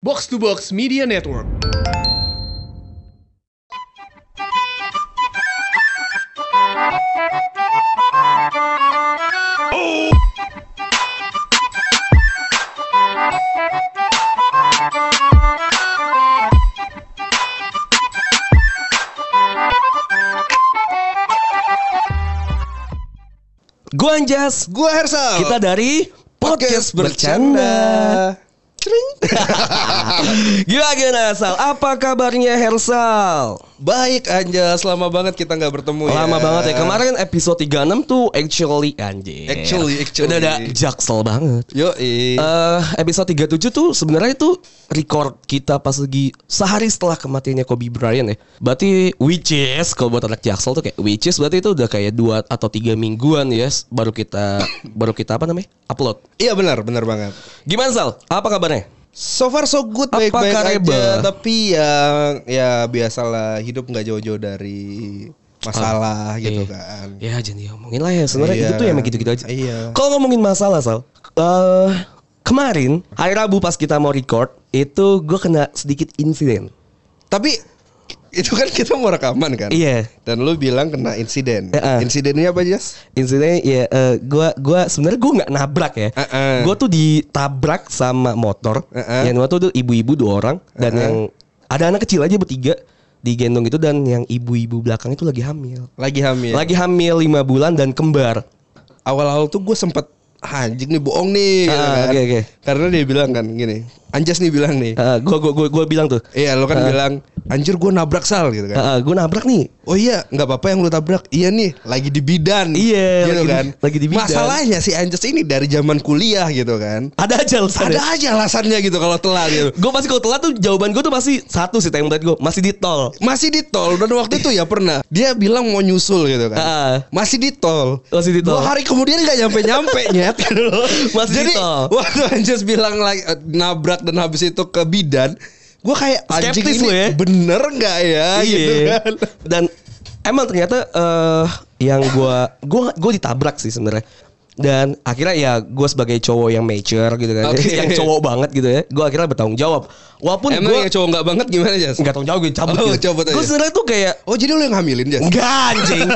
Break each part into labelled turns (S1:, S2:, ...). S1: Box to Box Media Network.
S2: Gua Anjas,
S3: Gua Hersal.
S2: kita dari Podcast Bercanda.
S3: Cering.
S2: Gila gila Sal, apa kabarnya Hersal?
S3: Baik Anja, lama banget kita nggak bertemu ya.
S2: Lama banget ya, kemarin kan episode 36 tuh actually anjir
S3: Actually, actually.
S2: Udah ada jaksel banget
S3: Yo,
S2: Eh episode 37 tuh sebenarnya itu record kita pas lagi sehari setelah kematiannya Kobe Bryant ya. Berarti which is kalau buat anak Jaksel tuh kayak which is berarti itu udah kayak dua atau tiga mingguan ya s- baru kita baru kita apa namanya? upload.
S3: iya benar, benar banget.
S2: Gimana Sal? Apa kabarnya?
S3: So far so good
S2: Apa
S3: baik-baik
S2: kareba?
S3: aja, tapi ya ya biasalah hidup nggak jauh-jauh dari masalah gitu
S2: Iya.
S3: kan.
S2: Ya jangan diomongin lah ya sebenarnya
S3: Iya.
S2: itu tuh emang gitu-gitu aja.
S3: Iya.
S2: Kalau ngomongin masalah Sal, eh, kemarin hari Rabu pas kita mau record itu gue kena sedikit insiden.
S3: Tapi itu kan kita mau rekaman kan.
S2: Iya.
S3: Dan lu bilang kena insiden.
S2: Iya.
S3: Insidennya apa, Jas?
S2: Intinya ya eh, gua gua sebenarnya gua nggak nabrak ya.
S3: Heeh.
S2: Gua tuh ditabrak sama motor.
S3: Heeh.
S2: Yang waktu itu ibu-ibu dua orang dan yang ada anak kecil aja bertiga digendong itu dan yang ibu-ibu belakang itu lagi hamil.
S3: Lagi hamil.
S2: Lagi hamil lima bulan dan kembar.
S3: awal-awal tuh gue sempet "Ah, anjing nih bohong nih gitu
S2: Ah,
S3: kan.
S2: oke, oke.
S3: karena dia bilang kan gini Anjas nih bilang nih
S2: Eh, gua, gua gua gua bilang tuh.
S3: iya lo
S2: Ah.
S3: kan bilang anjir gue nabrak sal gitu kan
S2: eh, gua nabrak nih.
S3: oh iya nggak apa-apa yang lu tabrak iya nih lagi di bidan
S2: Iya,
S3: gitu
S2: lagi di-
S3: kan
S2: lagi di bidan.
S3: masalahnya si Anjas ini dari zaman kuliah gitu kan
S2: Ada aja alasannya.
S3: ada aja alasannya gitu kalau telat gitu
S2: Gue pasti kalau telat tuh jawaban gue tuh pasti satu sih template gue masih di tol.
S3: masih di tol dan waktu itu ya pernah dia bilang mau nyusul gitu kan
S2: Ah.
S3: masih di tol
S2: Masih di tol.
S3: dua hari kemudian nggak nyampe nyampe nyet gitu loh.
S2: Masih di
S3: jadi
S2: tol.
S3: waktu Anjas bilang lagi eh, nabrak dan habis itu ke bidan gue kayak anjing
S2: Skeptis
S3: ini
S2: lu ya.
S3: bener nggak ya gitu
S2: Iya.
S3: kan
S2: Dan emang ternyata eh yang gua gua gua ditabrak sih sebenarnya. Dan akhirnya ya gue sebagai cowok yang mature gitu kan,
S3: Oke.
S2: yang cowok banget gitu ya, gue akhirnya bertanggung jawab. Walaupun
S3: emang
S2: gue
S3: yang cowok nggak banget gimana Jas
S2: nggak tanggung jawab gue cabut.
S3: Oh,
S2: gitu.
S3: cabut aja.
S2: Gue sebenarnya tuh kayak
S3: oh jadi lu yang hamilin Jas
S2: enggak anjing.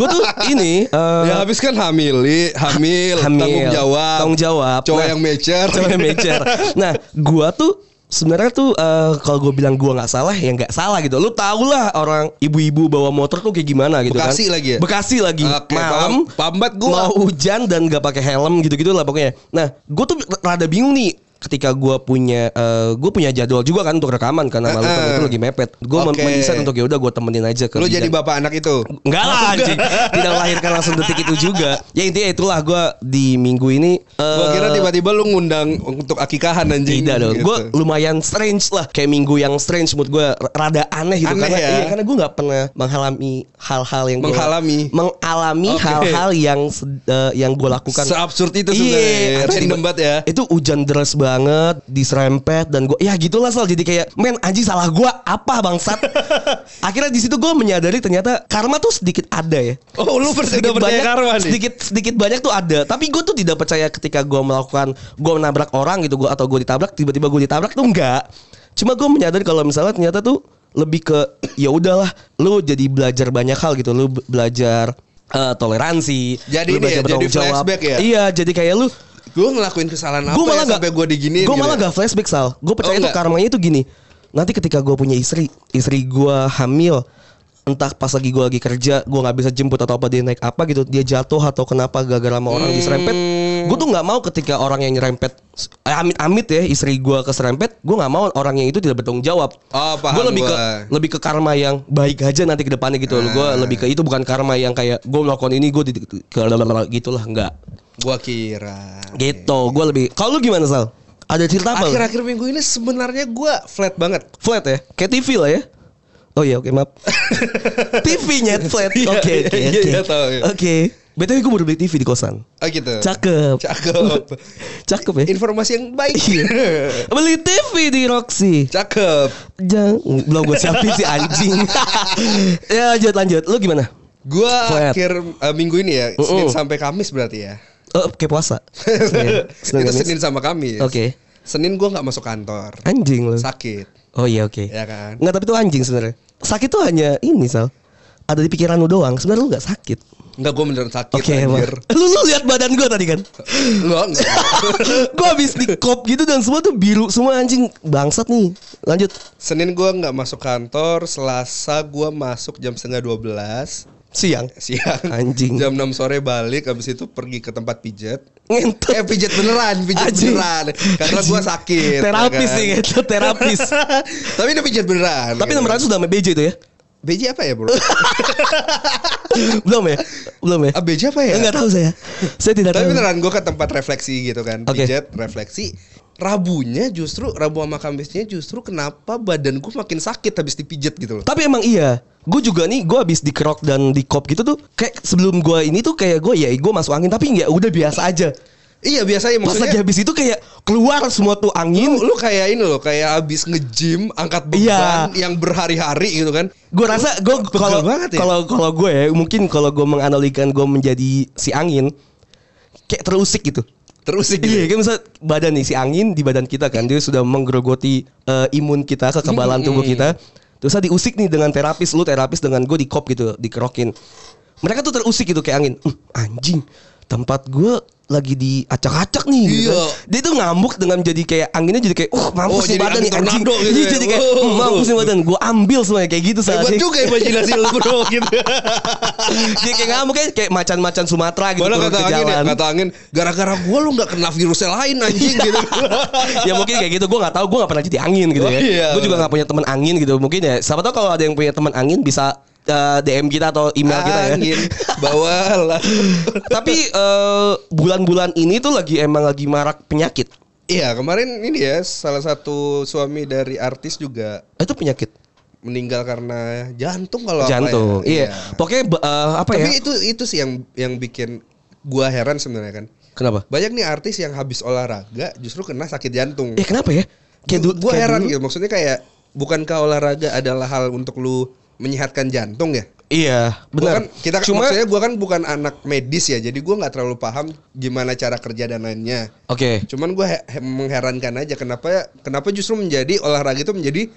S2: gue tuh ini eh,
S3: ya habis kan hamil hamil,
S2: hamil,
S3: tanggung jawab
S2: tanggung jawab.
S3: cowok
S2: Nah,
S3: yang mature
S2: cowok yang mature. Nah, gua tuh sebenarnya tuh eh, kalau gue bilang gua nggak salah ya nggak salah gitu. Lu tau lah orang ibu-ibu bawa motor tuh kayak gimana gitu
S3: Bekasi
S2: kan.
S3: lagi ya?
S2: Bekasi lagi.
S3: Oke,
S2: Malam.
S3: paham. Paham banget gua.
S2: Mau hujan dan nggak pakai helm gitu-gitu lah pokoknya. Nah, gue tuh rada bingung nih ketika gua punya gue punya jadwal juga kan untuk rekaman karena malu
S3: Heeh.
S2: itu lagi mepet. Gue
S3: Eh, Oke.
S2: mendesain untuk ya udah gue temenin aja ke
S3: lu
S2: bidan."
S3: jadi bapak anak itu
S2: Enggak lah anjing Tidak melahirkan langsung detik itu juga Ya intinya itulah gue di minggu ini eh,
S3: Gua kira tiba-tiba lu ngundang untuk akikahan anjing.
S2: tidak dong,
S3: Gitu.
S2: gue lumayan strange lah Kayak minggu yang strange mood gue rada aneh gitu
S3: Aneh
S2: Karena,
S3: ya?
S2: iya, karena gue gak pernah mengalami hal-hal yang gua-
S3: Menghalami.
S2: Mengalami
S3: Oke.
S2: hal-hal yang sed- eh, yang gue lakukan
S3: Seabsurd itu
S2: Iya,
S3: sebenarnya. Random
S2: tiba-
S3: banget ya.
S2: Itu hujan deras banget, diserempet dan gue ya gitulah soal jadi kayak men anjing salah gua apa bangsat. Akhirnya di situ gue menyadari ternyata karma tuh sedikit ada ya.
S3: Oh, lu
S2: Sedikit
S3: udah percaya
S2: banyak-
S3: karma nih?
S2: Sedikit sedikit banyak tuh ada. Tapi gue tuh tidak percaya ketika gue melakukan gue menabrak orang gitu gue atau gue ditabrak tiba-tiba gue ditabrak tuh enggak. Cuma gue menyadari kalau misalnya ternyata tuh lebih ke ya udahlah lu jadi belajar banyak hal gitu lu be- belajar eh, toleransi lu
S3: Jadi ini ya,
S2: belajar
S3: jadi
S2: bertanggung jawab.
S3: flashback ya?
S2: iya jadi kayak lu
S3: Gue ngelakuin kesalahan apa
S2: gue malah
S3: ya
S2: gak
S3: sampai gue diginiin
S2: gue
S3: gitu
S2: malah
S3: ya?
S2: gak flashback sal gue percaya
S3: Oh,
S2: tuh
S3: nggak?
S2: karmanya itu gini nanti ketika gue punya istri istri gue hamil entah pas lagi gue lagi kerja gue nggak bisa jemput atau apa dia naik apa gitu dia jatuh atau kenapa gara-gara sama orang diserempet
S3: Hmm.
S2: gue tuh nggak mau ketika orang yang nyerempet eh, amit-amit ya istri gue keserempet gue nggak mau orang yang itu tidak bertanggung jawab
S3: Oh, paham
S2: gue lebih
S3: gua. Ah.
S2: ke lebih ke karma yang baik aja nanti ke depannya gitu gue lebih ke itu bukan karma yang kayak gue melakukan ini gue di- ke gitu lah nggak
S3: Gua kira.
S2: Gitu, gue lebih. Kalau lu gimana Sal? Ada cerita apa? lu?
S3: Akhir-akhir minggu ini sebenarnya gue flat banget.
S2: Flat ya? Kayak TV lah ya? Oh iya, oke maaf. TV-nya flat. Oke,
S3: Iya,
S2: oke,
S3: iya, iya,
S2: oke.
S3: iya, tahu, iya.
S2: Oke. BTW gue baru beli TV di kosan.
S3: Oh gitu.
S2: Cakep. Iya.
S3: Cakep.
S2: Cakep ya?
S3: Informasi yang baik.
S2: Beli TV di Roxy.
S3: Cakep.
S2: Jangan belum gue siapin si anjing. ya lanjut lanjut. Lu gimana?
S3: Gue
S2: Flat.
S3: akhir eh, minggu ini ya, Senin
S2: Mm-mm.
S3: sampai Kamis berarti ya.
S2: Oh, kayak puasa. Senin, Senin,
S3: Itu
S2: Kamis.
S3: Senin Iya. sama Kamis.
S2: Oke.
S3: Senin gua nggak masuk kantor.
S2: Anjing lu.
S3: Sakit,
S2: Oh iya oke.
S3: ya kan?
S2: Nggak tapi itu anjing sebenarnya. Sakit tuh hanya ini sal. Ada di pikiran lu doang. Sebenarnya lu nggak sakit.
S3: Enggak gua beneran sakit
S2: Oke, emang.
S3: Iya, anjir.
S2: lu lu lihat badan gua tadi kan.
S3: Lo enggak.
S2: gua habis dikop gitu dan semua tuh biru semua anjing bangsat nih. Lanjut.
S3: Senin gua nggak masuk kantor, Selasa gua masuk jam setengah 12
S2: Siang.
S3: siang.
S2: Anjing.
S3: Jam 6 sore balik habis itu pergi ke tempat pijat.
S2: Ngentot.
S3: Eh pijat beneran, pijat
S2: Anjing.
S3: beneran. Karena gua sakit. ya
S2: Terapis
S3: kan?
S2: sih ngentot terapis.
S3: Tapi ini pijat beneran.
S2: Tapi
S3: ya kan?
S2: nomor satu sudah sama BJ itu ya?
S3: BJ apa ya, Bro?
S2: Belum ya? Belum ya?
S3: Ah, BJ apa ya?
S2: Enggak tahu saya. Saya tidak
S3: Tapi
S2: tahu.
S3: beneran gue ke tempat refleksi gitu kan
S2: Oke.
S3: Pijat, refleksi Rabunya justru Rabu sama Kamisnya justru Kenapa badan gue makin sakit habis dipijat gitu loh
S2: Tapi emang iya. Gue juga nih, gue abis di krok dan di kop gitu tuh Kayak sebelum gue ini tuh kayak gue ya gue masuk angin Tapi ya udah biasa aja
S3: Iya biasanya
S2: Pas
S3: maksudnya
S2: lagi habis itu kayak keluar semua tuh angin
S3: lu, lu kayak ini loh Kayak habis nge-gym Angkat beban Yang berhari-hari gitu kan
S2: Gue Iya. rasa gue kalau
S3: banget ya?
S2: kalau kalau gue ya mungkin kalau gue menganalogikan gue menjadi si angin kayak terusik gitu.
S3: Terus sih
S2: Iya,
S3: gitu
S2: kan misalnya badan nih si angin di badan kita kan dia sudah menggerogoti eh, imun kita, kekebalan tubuh kita. Terus saya diusik nih dengan terapis, lu terapis dengan gue di kop gitu, dikerokin. Mereka tuh terusik gitu kayak angin. "Hmm, anjing, tempat gue lagi diacak-acak nih. gitu
S3: Iya.
S2: kan. Dia tuh ngamuk dengan jadi kayak anginnya jadi kayak, uh
S3: Oh,
S2: mampus nih
S3: jadi
S2: badan nih
S3: angin
S2: anjing.
S3: tornado gitu
S2: Iya,
S3: ya.
S2: jadi kayak, "Hmm, mampus nih badan. Gue ambil semuanya kayak gitu saat
S3: Hebat juga imajinasi lu bro gitu
S2: Dia kayak ngamuk kayak, kayak macan-macan Sumatera gitu
S3: Malah
S2: turun
S3: kata
S2: ke
S3: angin ya
S2: jalan.
S3: Kata angin Gara-gara gue lu gak kena virusnya lain anjing gitu
S2: ya mungkin kayak gitu gue nggak tahu gue nggak pernah jadi angin gitu ya
S3: Oh, iya,
S2: gue juga
S3: benar.
S2: nggak punya teman angin gitu mungkin ya siapa tahu kalau ada yang punya teman angin bisa eh, DM kita atau email kita ya
S3: Angin Bawalah
S2: tapi eh, bulan-bulan ini tuh lagi emang lagi marak penyakit
S3: Iya kemarin ini ya salah satu suami dari artis juga
S2: Eh, itu penyakit
S3: meninggal karena jantung kalau
S2: jantung
S3: apa ya.
S2: iya pokoknya ba- eh, apa
S3: Tapi
S2: ya
S3: itu itu sih yang yang bikin gua heran sebenarnya kan.
S2: kenapa
S3: Banyak nih artis yang habis olahraga justru kena sakit jantung.
S2: ya kenapa ya kayak du-
S3: Gu- gua
S2: kayak
S3: heran
S2: dulu-
S3: gitu. Maksudnya kayak bukankah olahraga adalah hal untuk lu menyehatkan jantung ya?
S2: iya
S3: Gua
S2: benar
S3: kan- kita
S2: cuma
S3: maksudnya gua kan bukan anak medis ya. Jadi gua nggak terlalu paham gimana cara kerja dan lainnya.
S2: oke
S3: Cuman gue mengherankan aja kenapa kenapa justru menjadi olahraga itu menjadi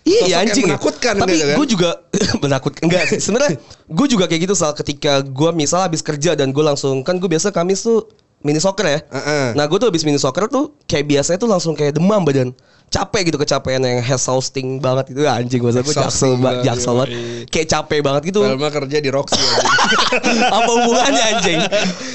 S2: Iya,
S3: sosok
S2: iya
S3: yang
S2: anjing. ya.
S3: menakutkan
S2: Tapi
S3: gitu kan.
S2: gue juga menakutkan. Enggak sih. Sebenarnya gue juga kayak gitu soal ketika gue misal habis kerja dan gue langsung kan gue biasa Kamis tuh mini soccer ya.
S3: Heeh.
S2: Nah gue tuh habis mini soccer tuh kayak biasanya tuh langsung kayak demam badan capek gitu kecapean yang exhausting banget itu Ya, anjing masa gue jaksel
S3: Exhausting
S2: banget
S3: banget,
S2: jaksel banget
S3: yoi.
S2: kayak capek banget gitu
S3: Velma kerja di Roxy aja.
S2: apa hubungannya anjing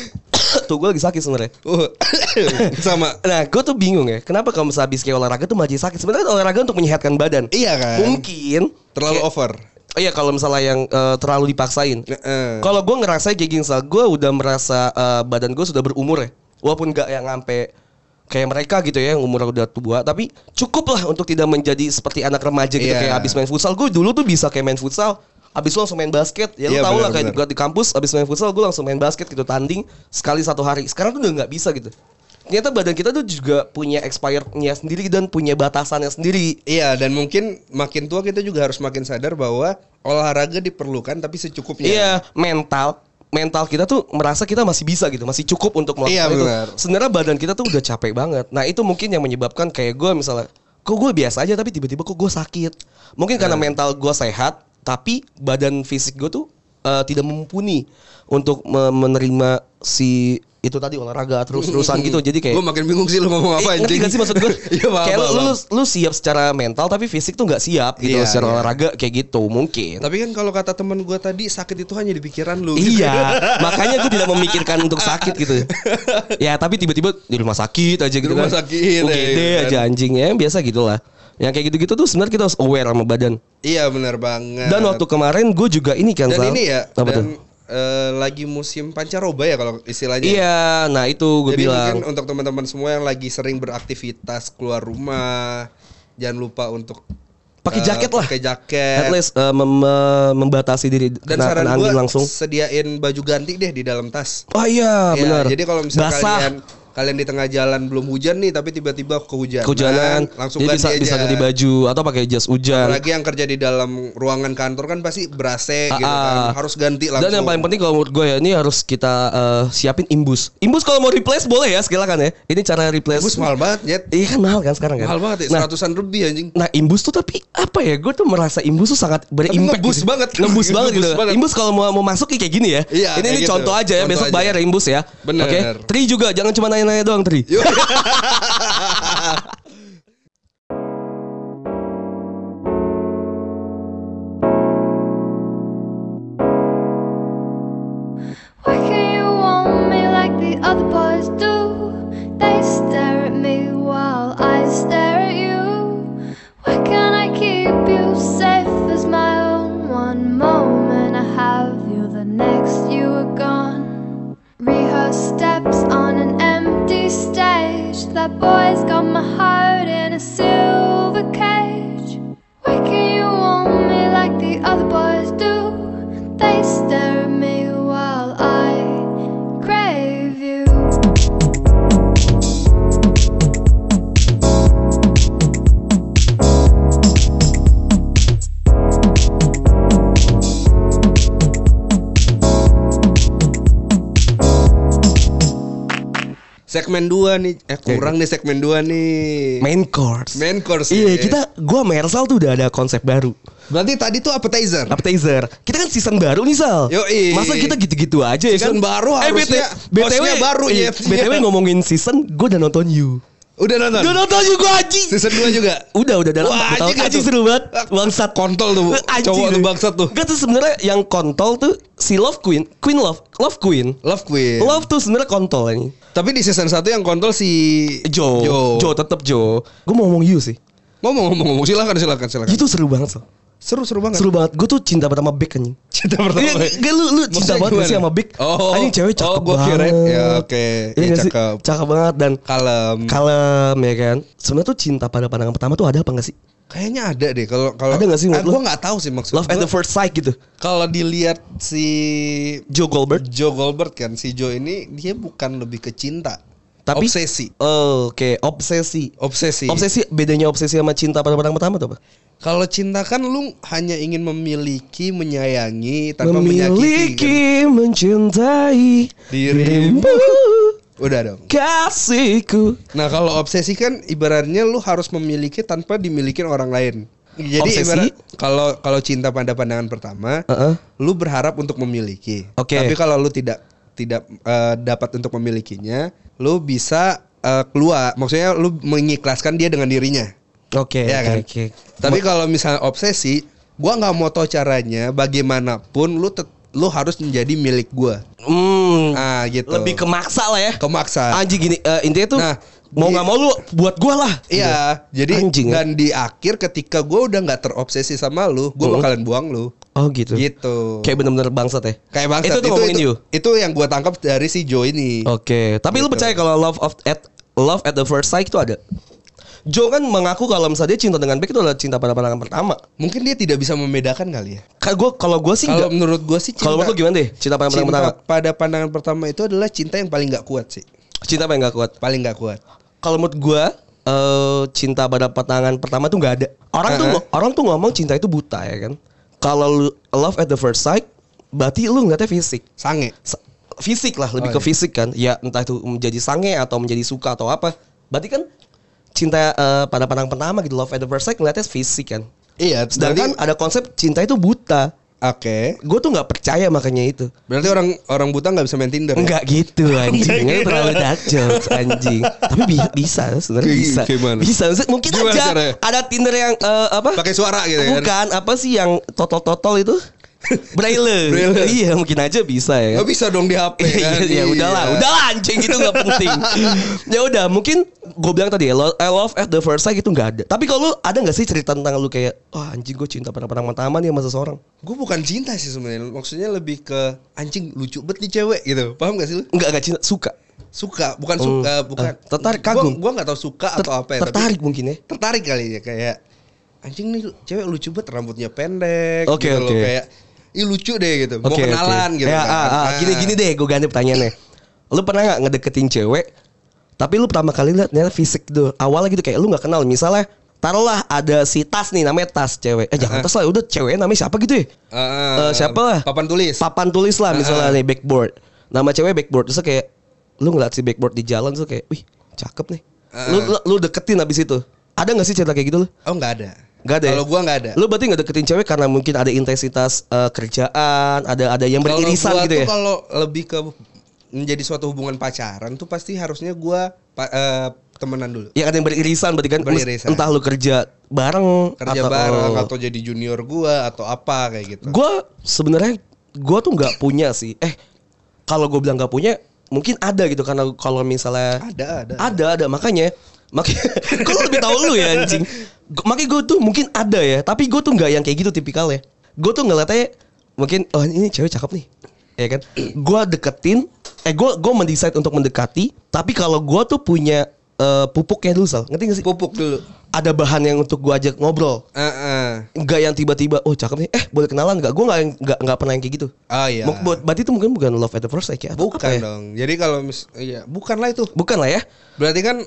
S2: tuh gue lagi sakit sebenarnya
S3: Uh, sama
S2: nah gue tuh bingung ya kenapa kalau misalnya habis kayak olahraga tuh malah jadi sakit sebenarnya kan olahraga untuk menyehatkan badan
S3: iya kan
S2: mungkin
S3: terlalu over.
S2: Oh iya kalau misalnya yang eh, terlalu dipaksain.
S3: Heeh.
S2: Kalau gue ngerasa kayak gini, Sal, gue udah merasa eh, badan gue sudah berumur ya. Walaupun gak yang sampai kayak mereka gitu ya yang umur udah tua, tapi cukuplah untuk tidak menjadi seperti anak remaja gitu
S3: Iya.
S2: kayak abis main futsal. Gue dulu tuh bisa kayak main futsal, abis lu langsung main basket. Ya lu
S3: Iya,
S2: tau lah kayak
S3: benar,
S2: di, di kampus abis main futsal gue langsung main basket gitu tanding sekali satu hari. Sekarang tuh udah nggak bisa gitu. Ternyata badan kita tuh juga punya expirednya sendiri dan punya batasannya sendiri.
S3: Iya dan mungkin makin tua kita juga harus makin sadar bahwa olahraga diperlukan tapi secukupnya.
S2: Iya, mental mental kita tuh merasa kita masih bisa gitu, masih cukup untuk melakukan
S3: Iya,
S2: itu.
S3: benar.
S2: Sebenarnya badan kita tuh udah capek banget. Nah, itu mungkin yang menyebabkan kayak gue misalnya, kok gue biasa aja tapi tiba-tiba kok gue sakit. Mungkin karena mental gue sehat, tapi badan fisik gue tuh eh, tidak mumpuni untuk me- menerima si itu tadi olahraga terus-terusan gitu. Jadi kayak
S3: Gue makin bingung sih lu ngomong apa
S2: Eh, ngerti
S3: anjing.
S2: gak sih maksud gue?
S3: Iya paham,
S2: kayak lu-
S3: paham.
S2: lu, lu, siap secara mental tapi fisik tuh nggak siap gitu
S3: Iya,
S2: secara
S3: iya.
S2: olahraga kayak gitu mungkin.
S3: Tapi kan kalau kata teman gue tadi sakit itu hanya di pikiran lu. gitu kan?
S2: Iya, makanya gue tidak memikirkan untuk sakit gitu. Ya, tapi tiba-tiba di rumah sakit aja gitu
S3: Di rumah
S2: kan.
S3: sakit,
S2: UGD
S3: ya,
S2: aja anjingnya, biasa gitulah. Yang kayak gitu-gitu tuh sebenarnya kita harus aware sama badan.
S3: Iya benar banget.
S2: Dan waktu kemarin gue juga ini kan
S3: dan
S2: Sal.
S3: ini ya
S2: Apa tuh?
S3: dan eh, lagi musim pancaroba ya kalau istilahnya.
S2: Iya, nah itu gue
S3: Jadi mungkin
S2: bilang.
S3: untuk teman-teman semua yang lagi sering beraktivitas keluar rumah, jangan lupa untuk
S2: Pakai
S3: eh,
S2: jaket lah.
S3: Pakai jaket.
S2: At least eh, mem- eh, membatasi diri
S3: Dan
S2: kena-
S3: saran
S2: kena
S3: gue
S2: angin langsung.
S3: sediain baju ganti deh di dalam tas.
S2: Oh iya,
S3: Ya,
S2: benar.
S3: Jadi kalau misalnya
S2: Basah.
S3: kalian kalian di tengah jalan belum hujan nih tapi tiba-tiba kehujanan,
S2: kehujanan
S3: langsung
S2: jadi bisa,
S3: ganti
S2: bisa
S3: aja.
S2: ganti baju atau pakai jas hujan
S3: Apalagi yang kerja di dalam ruangan kantor kan pasti berase gitu
S2: Ah, ah.
S3: kan. Harus ganti langsung.
S2: Dan yang paling penting kalau menurut gue ya ini harus kita eh, siapin imbus. Imbus kalau mau replace boleh ya silakan ya. Ini cara replace.
S3: Bus mahal banget, Jet.
S2: Iya kan mahal kan sekarang kan.
S3: Mahal banget ya,
S2: Nah,
S3: seratusan lebih anjing.
S2: nah imbus tuh tapi apa ya? Gue tuh merasa imbus tuh sangat berimpact. gitu.
S3: ngebus banget.
S2: Ngebus banget gitu.
S3: Ngebus banget.
S2: Imbus kalau mau mau masuk kayak gini ya.
S3: Iya,
S2: ini
S3: kayak
S2: ini
S3: gitu.
S2: contoh aja ya.
S3: Contoh
S2: Besok
S3: aja.
S2: bayar ya imbus ya.
S3: Bener.
S2: Oke. Tri juga jangan cuma nanya-nanya doang Tri.
S3: Yuk.
S1: Why can't you want me like the other boys do? They stare at me while I stare at you. Why can't I keep you safe as my own? One moment I have you, the next you are gone. Rehearse steps on an empty stage. That boy's got my heart in a silver cage. Why can't you want me like the other boys do? They stare at me while I crave you.
S3: Segmen 2 nih. Eh kurang nih segmen 2 nih.
S2: Main course.
S3: Main course.
S2: Iya
S3: ya.
S2: kita gue Mersal tuh udah ada konsep baru
S3: Berarti tadi tuh appetizer.
S2: appetizer. Kita kan season baru nih Sal.
S3: Yoi.
S2: Masa kita gitu-gitu aja ya kan?
S3: Season baru harusnya
S2: BTW
S3: hostnya baru,
S2: iya,
S3: iya.
S2: BTW ngomongin season, gue udah nonton you.
S3: Udah nonton.
S2: Udah nonton you gue anjing.
S3: Season 2 juga.
S2: Udah udah dalam
S3: Wah,
S2: empat tahun.
S3: anjing gak
S2: Anjing
S3: tuh?
S2: seru banget. Bangsat Eh,
S3: Kontol tuh.
S2: Anjing
S3: Cowok
S2: tuh.
S3: tuh bangsat tuh.
S2: Gak tuh sebenarnya yang kontol tuh si Love Queen, Queen Love, Love Queen.
S3: Love Queen.
S2: Love tuh sebenarnya kontol ini.
S3: Tapi di season 1 yang kontol si
S2: Joe, Joe,
S3: Jo.
S2: tetep Joe. Gue mau ngomong you sih.
S3: Ngomong ngomong ngomong silakan silakan silakan.
S2: Itu seru banget, Sal.
S3: Seru seru banget.
S2: Seru banget. Gue tuh cinta pertama Beck anjing.
S3: Cinta pertama.
S2: Iya, Gak lu lu cinta
S3: Maksudnya
S2: banget gak sih
S3: gimana?
S2: sama Big?
S3: Oh.
S2: Anjing cewek
S3: Oh,
S2: cakep
S3: gua
S2: banget.
S3: kirain. Ya, oke.
S2: Iya
S3: Iya,
S2: nggak sih?
S3: cakep. Hmm.
S2: Cakep banget dan
S3: Kalem.
S2: kalem ya kan. Sebenarnya tuh cinta pada pandangan pertama tuh ada apa nggak sih?
S3: Kayaknya ada deh kalau kalau
S2: Ada nggak sih
S3: Ah,
S2: menurut lu?
S3: Gua nggak tahu sih maksudnya.
S2: Love at the first sight gitu.
S3: Kalau dilihat si
S2: Joe Goldberg.
S3: Joe Goldberg kan si Joe ini dia bukan lebih ke cinta,
S2: Tapi
S3: obsesi.
S2: Oh, Oke, obsesi.
S3: Obsesi.
S2: Obsesi bedanya obsesi sama cinta pada pandangan pertama tuh apa?
S3: Kalau cinta kan lu hanya ingin memiliki, menyayangi tanpa menyakiti. kan?
S2: Memiliki mencintai
S3: Dirimu.
S2: dirimu
S3: Udah dong.
S2: kasihku.
S3: Nah, kalau obsesi kan ibaratnya lu harus memiliki tanpa dimiliki orang lain. Jadi
S2: Obsesi?
S3: ibarat kalau kalau cinta pada pandangan pertama,
S2: Heeh.
S3: lu berharap untuk memiliki.
S2: Oke.
S3: Tapi kalau lu tidak tidak eh, dapat untuk memilikinya, lu bisa eh, keluar. Maksudnya lu mengikhlaskan dia dengan dirinya.
S2: Oke,
S3: Iya
S2: oke,
S3: kan?
S2: oke.
S3: Tapi kalau misalnya obsesi, gua nggak mau tahu caranya. Bagaimanapun lu tet- lu harus menjadi milik gua.
S2: Hmm,
S3: Ah, gitu.
S2: lebih kemaksa lah ya.
S3: kemaksa.
S2: Anjing gini, eh, intinya tuh
S3: Nah,
S2: mau
S3: di-
S2: nggak mau lu buat gua lah.
S3: Iya, jadi
S2: Anjing, ya?
S3: dan di akhir ketika gua udah nggak terobsesi sama lu, gua
S2: Mm-mm.
S3: bakalan buang lu.
S2: Oh gitu.
S3: Gitu.
S2: Kayak bener-bener bangsat ya.
S3: Kayak bangsat.
S2: Itu tuh ngomongin
S3: itu,
S2: you. Oh.
S3: itu yang gua tangkap dari si Joe ini.
S2: Oke, tapi lu
S3: Gitu.
S2: percaya kalau love of at love at the first sight itu ada? Joe kan mengaku kalau misalnya dia cinta dengan Beck itu adalah cinta pada pandangan pertama.
S3: Mungkin dia tidak bisa membedakan kali ya.
S2: Kayak gua kalau gua sih enggak.
S3: Kalau menurut gua sih cinta.
S2: Kalau menurut lu gimana deh? Cinta pada pandangan
S3: cinta
S2: pertama.
S3: pada pandangan pertama itu adalah cinta yang paling nggak kuat sih.
S2: Cinta apa yang gak kuat?
S3: Paling nggak kuat.
S2: Kalau menurut gua eh cinta pada pandangan pertama tuh nggak ada. Orang tuh
S3: Uh-uh.
S2: orang tuh ngomong cinta itu buta ya kan. Kalau lu- love at the first sight berarti lu ngeliatnya fisik.
S3: Sange.
S2: Sa- fisik lah lebih ke
S3: Oh, iya.
S2: fisik kan ya entah itu menjadi sange atau menjadi suka atau apa berarti kan cinta eh, pada pandang pertama gitu love at the first sight ngeliatnya fisik kan
S3: Iya,
S2: sedangkan
S3: berarti-
S2: ada konsep cinta itu buta
S3: oke.
S2: gue tuh nggak percaya makanya itu
S3: Berarti orang orang buta nggak bisa main Tinder. ya?
S2: Enggak gitu anjing, itu terlalu dark jokes anjing. Tapi bi- bisa sebenarnya
S3: Kayak-
S2: bisa.
S3: gimana?
S2: Bisa maksudnya mungkin
S3: Gimana
S2: aja
S3: caranya?
S2: ada Tinder yang eh, apa?
S3: Pakai suara gitu kan?
S2: Bukan, apa sih yang totol-totol itu? Braille.
S3: Braille.
S2: Iya, mungkin aja bisa ya.
S3: Nggak bisa dong di HP
S2: Iya,
S3: kan?
S2: ya udahlah,
S3: Iya.
S2: udahlah anjing itu nggak penting. ya udah, mungkin gue bilang tadi ya, lo- I love at the first sight itu nggak ada. Tapi kalau lu ada nggak sih cerita tentang lu kayak, wah anjing gue cinta pada pandang pertama nih sama seseorang?
S3: Gue bukan cinta sih sebenarnya. Maksudnya lebih ke anjing lucu banget nih cewek gitu. Paham gak sih lu?
S2: Enggak enggak cinta, suka.
S3: Suka, bukan
S2: Hmm.
S3: suka, bukan.
S2: Ah, tertarik, kagum.
S3: Gua, gua gak tahu suka
S2: Ter-
S3: atau apa ya,
S2: tertarik mungkin ya.
S3: Tapi tertarik kali ya kayak anjing nih cewek lucu banget rambutnya pendek
S2: Oke,
S3: gitu
S2: oke.
S3: loh kayak Ih lucu deh gitu. Mau
S2: Oke, oke.
S3: kenalan gitu.
S2: Ya,
S3: kan.
S2: ah, ah,
S3: Nah.
S2: gini gini deh, gue ganti pertanyaannya. Lu pernah nggak ngedeketin cewek Tapi lu pertama kali lihatnya fisik tuh. Awalnya gitu kayak lu nggak kenal. Misalnya taruhlah ada si tas nih namanya tas cewek. Eh jangan tas lah, udah cewek namanya siapa gitu ya? Eh, siapa lah?
S3: ah, Papan tulis.
S2: Papan tulis lah misalnya nih backboard. Nama cewek backboard. Terus kayak lu ngeliat si backboard di jalan tuh kayak, "Wih, cakep nih." Lu, lu lu deketin abis itu. Ada nggak sih cerita kayak gitu lu?
S3: oh nggak ada.
S2: Gak ada. ya?
S3: Kalau gua nggak ada.
S2: Lu berarti nggak deketin cewek karena mungkin ada intensitas eh, kerjaan, ada ada yang
S3: Kalau
S2: beririsan
S3: gua
S2: gitu
S3: tuh
S2: ya.
S3: Kalau lebih ke menjadi suatu hubungan pacaran tuh pasti harusnya gua pa- eh, temenan dulu.
S2: Ya ada yang beririsan berarti kan mes-
S3: Beririsan.
S2: entah lu kerja bareng
S3: Kerja bareng atau jadi junior gua atau apa kayak gitu.
S2: Gue sebenarnya gue tuh nggak punya sih. Eh kalau gue bilang nggak punya, mungkin ada gitu karena kalau misalnya
S3: Ada, ada.
S2: ada ada makanya makanya kalau lebih tahu lu ya anjing. Gu- Makanya gue tuh mungkin ada ya, tapi gue tuh nggak yang kayak gitu tipikalnya. Gue tuh ngeliatnya mungkin oh ini cewek cakep nih. Ya kan? Gue deketin, eh gue gue mendesain untuk mendekati, tapi kalau gue tuh punya eh, pupuknya dulu sal, ngerti gak sih?
S3: Pupuk dulu.
S2: Ada bahan yang untuk gue ajak ngobrol
S3: Heeh.
S2: nggak yang tiba-tiba oh cakep nih eh boleh kenalan nggak gue nggak yang- nggak nggak pernah yang kayak gitu
S3: Ah, iya.
S2: Mau- buat berarti itu mungkin bukan love at the first sight ya atau
S3: Bukan
S2: apa ya?
S3: dong. Jadi kalau mis iya, bukan lah itu.
S2: bukan lah ya
S3: Berarti kan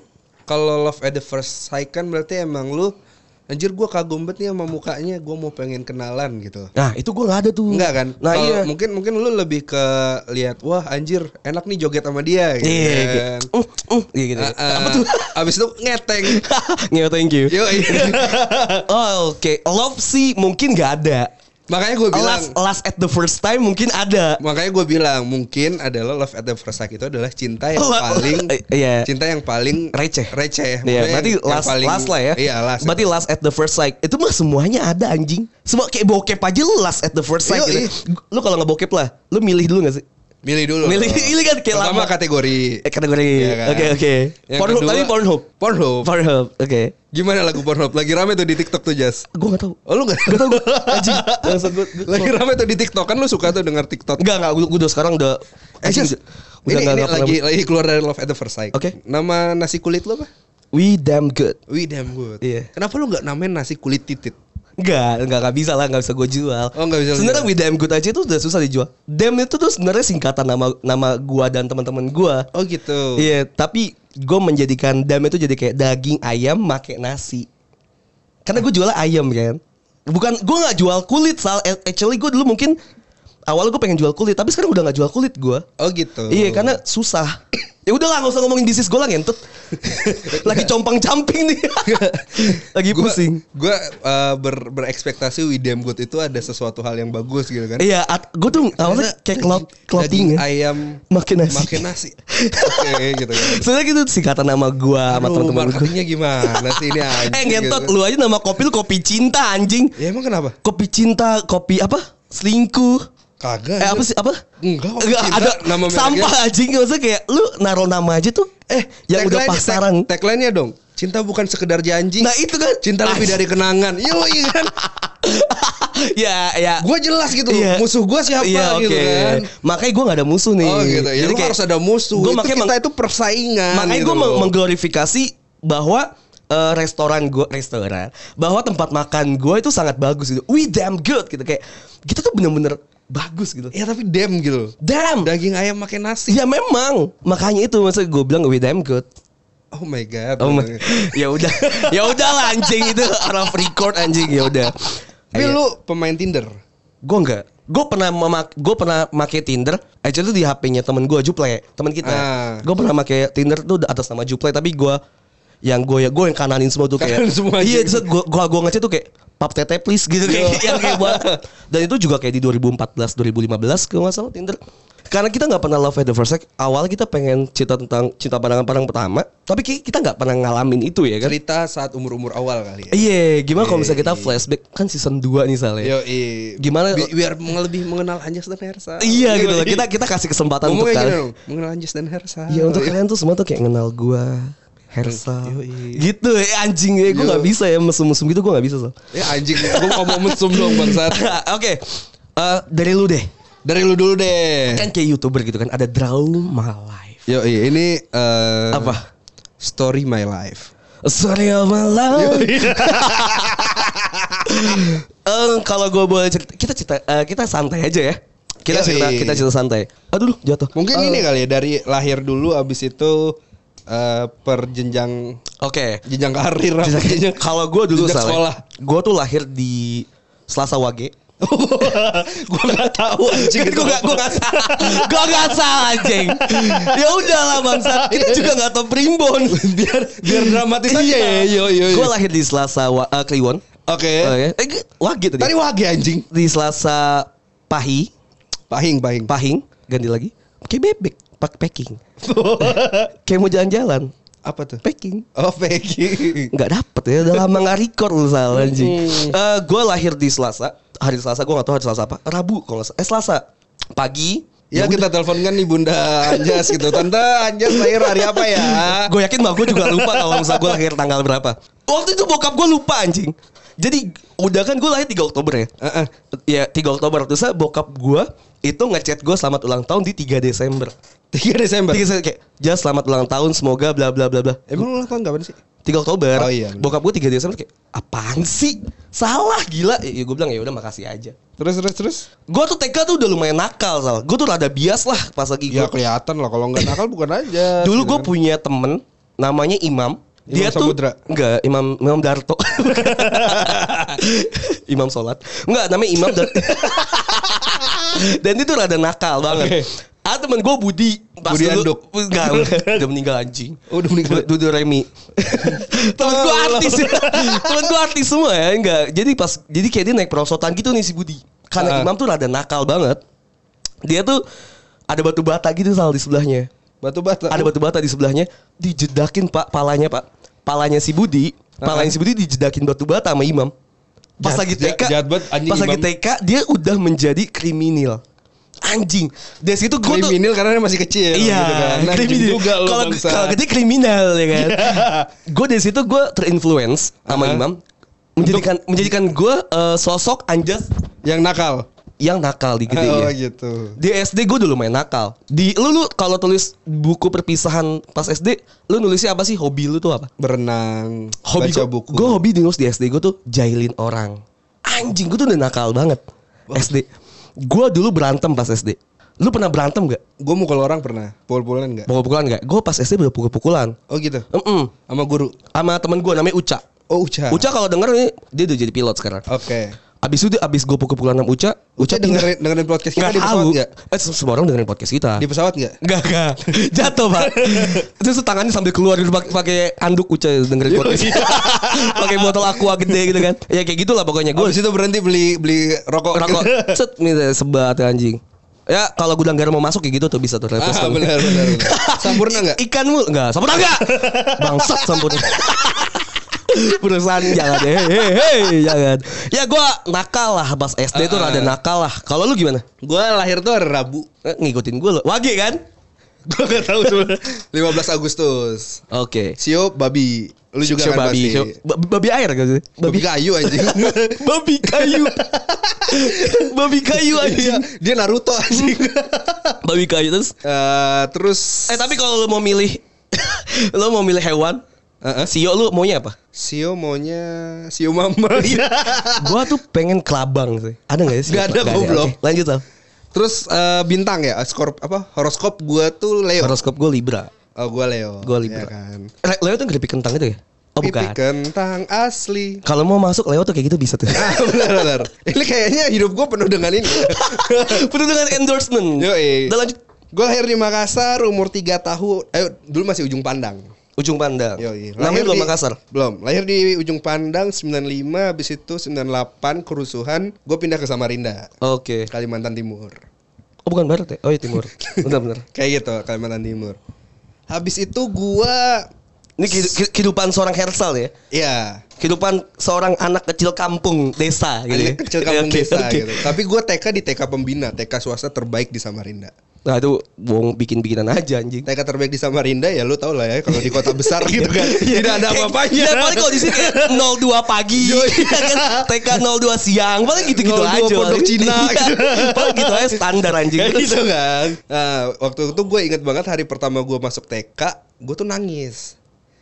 S3: kalau love at the first sight kan berarti emang lu anjir gua kagum banget nih sama mukanya, gua mau pengen kenalan gitu.
S2: nah itu gue nggak ada tuh
S3: Enggak kan?
S2: nah
S3: Kalau
S2: iya
S3: Mungkin mungkin lu lebih ke lihat wah anjir enak nih joget sama dia gitu.
S2: iya gitu.
S3: kan.
S2: Mm, mm, iya gitu
S3: Ah, ah.
S2: apa tuh
S3: Abis itu ngeteng.
S2: Nggak, thank you
S3: Yo,
S2: oh, oke love sih mungkin nggak ada
S3: makanya gue bilang,
S2: last last at the first time mungkin ada
S3: makanya gue bilang mungkin adalah love at the first sight itu adalah cinta yang
S2: La-
S3: paling
S2: Oh, Iya.
S3: cinta yang paling
S2: receh
S3: receh. Maksudnya
S2: Iya, berarti
S3: yang- yang
S2: last, last lah ya.
S3: Iya, last.
S2: Berarti last at the first sight. Itu mah semuanya ada anjing. Semua kayak bokep aja lu last at the first sight
S3: Yoi.
S2: gitu. Lu kalau ngebokep lah, lu milih dulu gak sih?
S3: milih dulu.
S2: Milih- milih kan kayak lama.
S3: Pertama kategori.
S2: Eh kategori.
S3: Iya kan?
S2: Oke oke.
S3: Yang
S2: Pornhub
S3: kedua-
S2: tapi Pornhub.
S3: Pornhub.
S2: Pornhub. Oke.
S3: Gimana lagu Pornhub? Lagi rame tuh di TikTok tuh, Jas.
S2: Gue gak tau.
S3: Oh, lu gak?
S2: Gak tau gue. Anjing. Langsung gue.
S3: Lagi rame tuh di TikTok kan lu suka tuh denger TikTok.
S2: Enggak enggak. Gue udah sekarang udah.
S3: Eh,
S2: anjing, udah-
S3: Jas, ini,
S2: udah nggak-
S3: ini
S2: nggak pernah-
S3: lagi lagi keluar dari Love at the First Sight.
S2: Oke.
S3: Nama nasi kulit lu apa?
S2: We damn good.
S3: We damn good.
S2: Iya.
S3: Kenapa lu nggak namain nasi kulit titit?
S2: Enggak, enggak, enggak bisa lah, enggak bisa gue jual.
S3: Oh, nggak bisa lu
S2: Sebenarnya
S3: jual.
S2: We Damn Good aja itu udah susah dijual. Damn itu tuh sebenarnya singkatan nama nama gua dan teman-teman gua.
S3: Oh gitu.
S2: Iya, tapi gue menjadikan dam itu jadi kayak daging ayam make nasi. Karena gue jual ayam kan. Bukan gue nggak jual kulit sal. A- Actually gue dulu mungkin awalnya gue pengen jual kulit, tapi sekarang udah nggak jual kulit gue.
S3: Oh gitu.
S2: Iya, karena susah. ya udahlah nggak usah ngomongin bisnis gue lah ngentut. Lagi compang camping nih. Lagi
S3: gua,
S2: pusing.
S3: Gue ber, berekspektasi We Damn Good itu ada sesuatu hal yang bagus gitu kan.
S2: Iya, gue tuh awalnya kayak cloud
S3: Daging
S2: clothing ya.
S3: ayam
S2: Makin nasi.
S3: makan nasi. Oke gitu kan.
S2: Sebenarnya gitu singkatan nama gue sama
S3: Aduh,
S2: teman-teman gue.
S3: marketingnya gimana sih ini anjing
S2: Eh ngentot
S3: gitu.
S2: lu aja nama kopi lu kopi cinta anjing.
S3: Ya emang kenapa?
S2: kopi cinta, kopi apa? Selingkuh.
S3: Kagak.
S2: Eh apa sih apa?
S3: Enggak, kopi cinta,
S2: ada
S3: nama mereknya.
S2: sampah anjing maksudnya kayak lu naro nama aja tuh eh yang udah pasaran.
S3: Tagline-nya dong. Cinta bukan sekedar janji.
S2: Nah, itu kan.
S3: Cinta lebih
S2: Anjing.
S3: dari kenangan. Yo, iya kan.
S2: ya ya.
S3: Gue jelas gitu.
S2: Iya.
S3: Musuh gue siapa
S2: Iya,
S3: gitu
S2: oke.
S3: kan.
S2: Makanya gue gak ada musuh nih.
S3: Oh gitu. Ya
S2: Iya, Jadi
S3: lu
S2: kayak-
S3: harus ada musuh.
S2: Gua
S3: itu
S2: makanya
S3: kita
S2: meng-
S3: itu persaingan.
S2: Makanya
S3: gitu
S2: gue
S3: loh.
S2: mengglorifikasi bahwa eh, restoran gue restoran bahwa tempat makan gue itu sangat bagus gitu. We damn good gitu kayak kita tuh bener-bener bagus gitu.
S3: Ya tapi dem gitu. loh.
S2: Damn.
S3: Daging ayam makan nasi.
S2: Ya memang makanya itu maksud gue bilang we damn good.
S3: Oh my god.
S2: Oh my. ya udah, ya udah lah anjing itu orang record anjing ya udah.
S3: Tapi lu pemain Tinder.
S2: gue enggak. Gue pernah memak, gue pernah make Tinder. Actually itu di HP-nya temen gue Juple, temen kita.
S3: Ah.
S2: Gue pernah make Tinder tuh atas nama Juple, tapi gue yang gue ya gue yang kananin semua tuh kayak
S3: Kananin semua
S2: iya
S3: Iya. anjing.
S2: terus gue gue gue ngechat tuh kayak pap tete please gitu kayak yang kayak buat dan itu juga kayak di 2014 2015 kalau nggak salah Tinder karena kita nggak pernah love at the first sight awalnya kita pengen cerita tentang cinta pandangan pandang pertama tapi kayak kita nggak pernah ngalamin itu ya kan
S3: Cerita saat umur-umur awal kali ya.
S2: Iya, gimana kalau misalnya kita flashback kan season 2 nih ya. Sale.
S3: Yo,
S2: Gimana-
S3: biar meng- lebih mengenal Anjas dan Hersa.
S2: Iya gitu loh.
S3: Yoi.
S2: Kita kita kasih kesempatan untuk
S3: ngomongnya gini
S2: kalian.
S3: dong, mengenal Anjas dan Hersa.
S2: Iya, untuk kalian tuh semua tuh kayak kenal gua, Hersa.
S3: Yoi.
S2: Gitu ya anjing ya. Gua nggak bisa ya mesum-mesum gitu gua nggak bisa. Sal.
S3: Ya anjing, gue ngomong mesum dong bangsat.
S2: Oke. Eh, dari lu deh.
S3: Dari lu dulu deh.
S2: Kan kayak YouTuber gitu kan ada Drauma Life.
S3: Yo, ini eh,
S2: Apa?
S3: Story My Life.
S2: Sorry of my life. Eh, kalau gua boleh cerita, kita cerita eh, kita santai aja ya. Kita
S3: Yoi.
S2: cerita kita cerita santai. Aduh, jatuh.
S3: Mungkin
S2: Eh,
S3: ini kali ya dari lahir dulu abis itu eh, per jenjang
S2: Oke.
S3: jenjang karir apa jenjang-
S2: Kalau gue dulu
S3: jenjang
S2: Saleh,
S3: sekolah.
S2: Gue tuh lahir di Selasa Wage.
S3: gue gak tahu anjing
S2: Kan
S3: itu
S2: gue gak,
S3: apa.
S2: gue gak salah Gue gak salah anjing Ya udah lah bangsa Kita juga gak tau primbon
S3: biar biar dramatis aja.
S2: Iya
S3: Yo yo. yo.
S2: Gue lahir di Selasa wa, eh, Kliwon
S3: Oke.
S2: Oh, ya. Eh g- Wage tadi
S3: Tadi wage anjing.
S2: Di Selasa Pahi
S3: Pahing pahing.
S2: Pahing Ganti lagi Kayak bebek Pak packing Kayak mau jalan-jalan
S3: apa tuh?
S2: Packing
S3: Oh packing.
S2: nggak dapet ya udah lama nggak record lu salah anjing Eh, gue lahir di Selasa hari Selasa gue nggak tahu hari Selasa apa Rabu kalau nggak salah eh Selasa pagi gitu.
S3: Ya kita teleponkan nih Bunda Anjas gitu. Tante Anjas lahir hari apa ya?
S2: gue yakin mah gue juga lupa kalau misalnya gue lahir tanggal berapa waktu itu bokap gue lupa anjing jadi udah kan gue lahir 3 Oktober ya
S3: Heeh.
S2: ya 3 Oktober terus ah, bokap gue itu ngechat gue selamat ulang tahun di 3 Desember
S3: 3 Desember.
S2: 3 Desember kayak Jas selamat ulang tahun semoga bla bla bla bla
S3: Emang ulang tahun kapan sih?
S2: 3 Oktober.
S3: Oh, iya.
S2: Bokap gue 3 Desember kayak apaan sih? Salah gila. Ya, gue bilang ya udah makasih aja.
S3: Terus terus terus.
S2: Gue tuh TK tuh udah lumayan nakal sal. Gue tuh rada bias lah pas lagi
S3: Ya
S2: gue.
S3: kelihatan lah kalau nggak nakal bukan aja.
S2: Dulu
S3: Gitu
S2: gue
S3: kan.
S2: punya temen namanya Imam.
S3: Imam
S2: Dia tuh
S3: Samudra.
S2: enggak Imam Imam Darto. Imam sholat. Enggak namanya Imam dan dan itu rada nakal banget.
S3: Oke.
S2: Ah temen gue Budi
S3: Budi
S2: dulu-
S3: Anduk.
S2: Enggak, enggak. Udah meninggal anjing
S3: Oh, udah meninggal.
S2: Du- Dudu Remi Temen gue artis Temen gue artis semua ya Enggak Jadi pas Jadi kayak dia naik perosotan gitu nih si Budi Karena
S3: Ah.
S2: Imam tuh rada nakal banget Dia tuh Ada batu bata gitu Sal di sebelahnya
S3: batu bata.
S2: Ada batu bata di sebelahnya Dijedakin pak Palanya pak Palanya si Budi Palanya si Budi dijedakin batu bata sama Imam Pas
S3: Jahat-
S2: lagi TK
S3: jahat banget, anjing
S2: Pas lagi
S3: Imam.
S2: TK Dia udah menjadi kriminal Anjing Dari situ gue tuh
S3: kriminal karena dia masih kecil
S2: Iya,
S3: gitu kan. Nah, anjing
S2: kriminal.
S3: juga Iya. lo
S2: Kalau
S3: bangsa.
S2: kalau gede kriminal ya kan. gue dari situ gue terinfluence sama
S3: Aha.
S2: Imam menjadikan menjadikan gue eh, sosok anjas
S3: yang nakal.
S2: yang nakal di
S3: oh
S2: gedenya.
S3: gitu.
S2: Di SD gue dulu main nakal. Di lu, lu kalau tulis buku perpisahan pas SD, lu nulisnya apa sih? Hobi lu tuh apa?
S3: Berenang,
S2: Hobi
S3: baca
S2: gua-
S3: buku.
S2: Gue hobi di nulis di SD gue tuh jailin orang. Anjing gue tuh udah nakal banget. SD. Gue dulu berantem pas SD. Lu pernah berantem gak?
S3: Gue mukul orang pernah, pukul-pukulan enggak?
S2: Pukul-pukulan gak? Gue pas SD udah pukul-pukulan.
S3: Oh gitu.
S2: Mm-mm.
S3: Sama guru.
S2: sama temen gue namanya Uca.
S3: Oh Uca.
S2: Uca kalau denger nih dia udah jadi pilot sekarang.
S3: Oke.
S2: Abis itu dia- abis gue pukul-pukulan sama Uca, Uca
S3: Oh. Uca
S2: pindah.
S3: dengerin dengerin podcast kita
S2: Nggak
S3: di pesawat
S2: tahu.
S3: enggak?
S2: Eh se- semua orang dengerin podcast kita.
S3: Di pesawat enggak?
S2: Enggak, enggak. Jatuh, Pak. Terus tuh tangannya sambil keluar gitu pakai pakai anduk Uca dengerin podcast. pakai botol aqua gede gitu kan. Ya kayak gitulah pokoknya gue
S3: Gue situ berhenti beli beli rokok.
S2: rokok cet nih sebat anjing. Ya kalau gudang garam mau masuk kayak gitu tuh bisa tuh.
S3: ah,
S2: Repost.
S3: benar benar. benar. Sampurna enggak?
S2: Ikan mulu enggak, sampurna enggak? Bangsat sampurna. Perusahaan jangan hei hei hei jangan. Ya gua nakal lah pas SD tuh
S3: Ah.
S2: rada nakal lah. Kalau lu gimana?
S3: Gue lahir tuh hari Rabu.
S2: Eh, Ngikutin gua lo. Wage kan?
S3: Gue gak tahu sebenarnya. 15 Agustus.
S2: Oke.
S3: Sio babi. Lu juga
S2: Show
S3: kan
S2: babi,
S3: pasti.
S2: show- ba- babi air kan?
S3: Babi kayu anjing.
S2: babi kayu. babi kayu
S3: Iya,
S2: anjing.
S3: dia Naruto anjing.
S2: babi kayu terus
S3: Eh, terus
S2: eh tapi kalau lu mau milih lu mau milih hewan
S3: Eh, eh,
S2: Sio lu maunya apa?
S3: Sio maunya Sio mama.
S2: Gua tuh pengen kelabang sih. Ada enggak ya? Sio?
S3: Nggak ada,
S2: Nggak
S3: goblok.
S2: Oke, Lanjut Al.
S3: Terus eh, bintang ya, skor apa? Horoskop gua tuh Leo.
S2: Horoskop gue Libra.
S3: Oh, gua Leo.
S2: Gue
S3: Iya
S2: Libra.
S3: kan.
S2: Re- Leo tuh yang pipi kentang itu ya? Oh
S3: Pipi
S2: bukan.
S3: kentang asli.
S2: Kalau mau masuk Leo tuh kayak gitu bisa tuh.
S3: Ah, benar benar. Ini kayaknya hidup gua penuh dengan ini.
S2: Penuh dengan endorsement.
S3: Yoi.
S2: Udah lanjut.
S3: Gue lahir di Makassar umur 3 tahun. Eh dulu masih ujung pandang.
S2: Ujung pandang.
S3: Yoi.
S2: Namanya
S3: iya. Lahir
S2: belum
S3: di-
S2: Makassar.
S3: Belum. Lahir di ujung pandang 95 habis itu 98 kerusuhan, gue pindah ke Samarinda,
S2: Oke.
S3: Kalimantan Timur.
S2: Oh bukan barat ya? Oh ya timur. Benar benar.
S3: Kayak gitu, Kalimantan Timur. Habis itu gua
S2: Ini kehidu- ke- kehidupan seorang Hersal ya.
S3: ya
S2: Kehidupan seorang anak kecil kampung desa gitu. ya.
S3: anak kecil kampung
S2: Oke,
S3: desa
S2: oke.
S3: gitu. Tapi gue TK di TK Pembina, TK swasta terbaik di Samarinda.
S2: Nah itu bohong bikin-bikinan aja anjing.
S3: TK terbaik di Samarinda ya lu tau lah ya kalau di kota besar gitu kan.
S2: iya.
S3: Tidak ada apa-apanya.
S2: Ya paling kalau di sini kayak 02 pagi, ya kan? TK 02 siang, paling gitu-gitu
S3: 02
S2: aja.
S3: Pondok Cina,
S2: Iya,
S3: gitu.
S2: paling gitu aja standar anjing.
S3: Kayak gitu kan. Nah, waktu itu gue ingat banget hari pertama gue masuk TK, gue tuh nangis.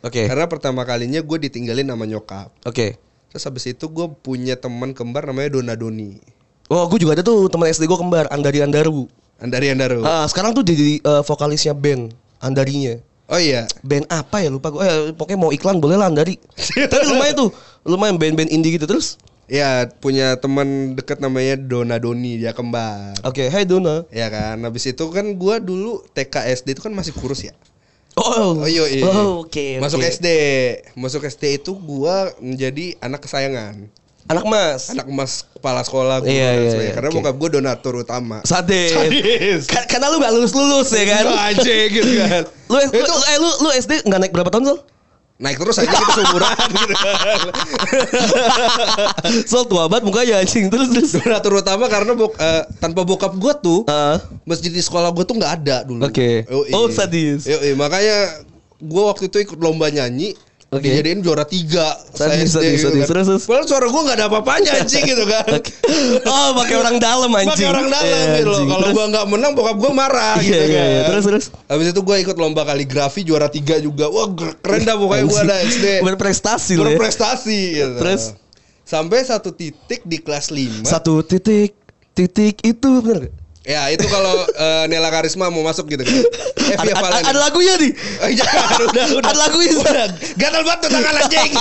S2: Oke.
S3: Karena pertama kalinya gue ditinggalin sama nyokap.
S2: Oke.
S3: Terus habis itu gue punya teman kembar namanya Dona Doni.
S2: Oh, gue juga ada tuh teman SD gue kembar, Andari Andaru.
S3: Andari Andaro.
S2: Ah, sekarang tuh jadi eh, vokalisnya band Andarinya.
S3: Oh iya.
S2: band apa ya lupa gue eh, pokoknya mau iklan boleh lah dari tapi lumayan tuh lumayan band-band indie gitu terus
S3: Ya punya teman dekat namanya Dona Doni dia kembar.
S2: oke hey Dona
S3: Ya kan, habis itu kan gua dulu TK SD itu kan masih kurus ya.
S2: oh
S3: Oh iya. iya.
S2: Oh, oke
S3: Masuk
S2: oke.
S3: SD. Masuk SD itu gua menjadi anak kesayangan.
S2: anak mas
S3: Anak emas kepala sekolah gua
S2: Iya,
S3: dan
S2: iya,
S3: sebagainya.
S2: iya,
S3: karena
S2: oke.
S3: bokap gua donatur utama.
S2: sadis,
S3: Sadis.
S2: Ka- karena lu gak lulus lulus ya kan
S3: Iya, anjing, gitu kan.
S2: lu, lu,
S3: Itu-
S2: lu- eh, lu, lu SD gak naik berapa tahun Sol?
S3: Naik terus aja kita seumuran gitu.
S2: Sol tua banget mukanya anjing terus terus
S3: Donatur utama karena bok- eh, tanpa bokap gua tuh
S2: Heeh.
S3: masjid di sekolah gue tuh nggak ada dulu.
S2: Oke.
S3: Yoi.
S2: Oh, sadis.
S3: Yoi, makanya gue waktu itu ikut lomba nyanyi.
S2: Oke.
S3: Dijadiin juara tiga.
S2: Sadis,
S3: Saya
S2: sadis,
S3: SD
S2: sadis. Terus, terus.
S3: kan. Padahal suara gue nggak ada apa-apanya anjing gitu kan.
S2: Oke. oh pakai orang dalam anjing
S3: Pakai orang dalam
S2: Iya,
S3: gitu loh.
S2: anjing.
S3: Kalau
S2: Terus-
S3: gue nggak menang, bokap gue marah
S2: Iya,
S3: gitu
S2: iya,
S3: kan.
S2: iya. Terus, terus.
S3: Habis itu gue ikut lomba kaligrafi juara tiga juga. Wah keren dah pokoknya gue ada
S2: Anjing.
S3: SD.
S2: berprestasi lu ya
S3: Berprestasi. Gitu.
S2: Terus?
S3: Sampai satu titik di kelas lima.
S2: ya. satu titik titik itu bener gak?
S3: Ya itu kalau eh, Nela Karisma mau masuk gitu kan. Eh,
S2: ada,
S3: Via
S2: ada,
S3: Valen.
S2: ada lagunya nih
S3: Eh, jangan, udah, udah.
S2: ada lagunya Sol.
S3: Udah, Gatal banget tuh tangan anjing.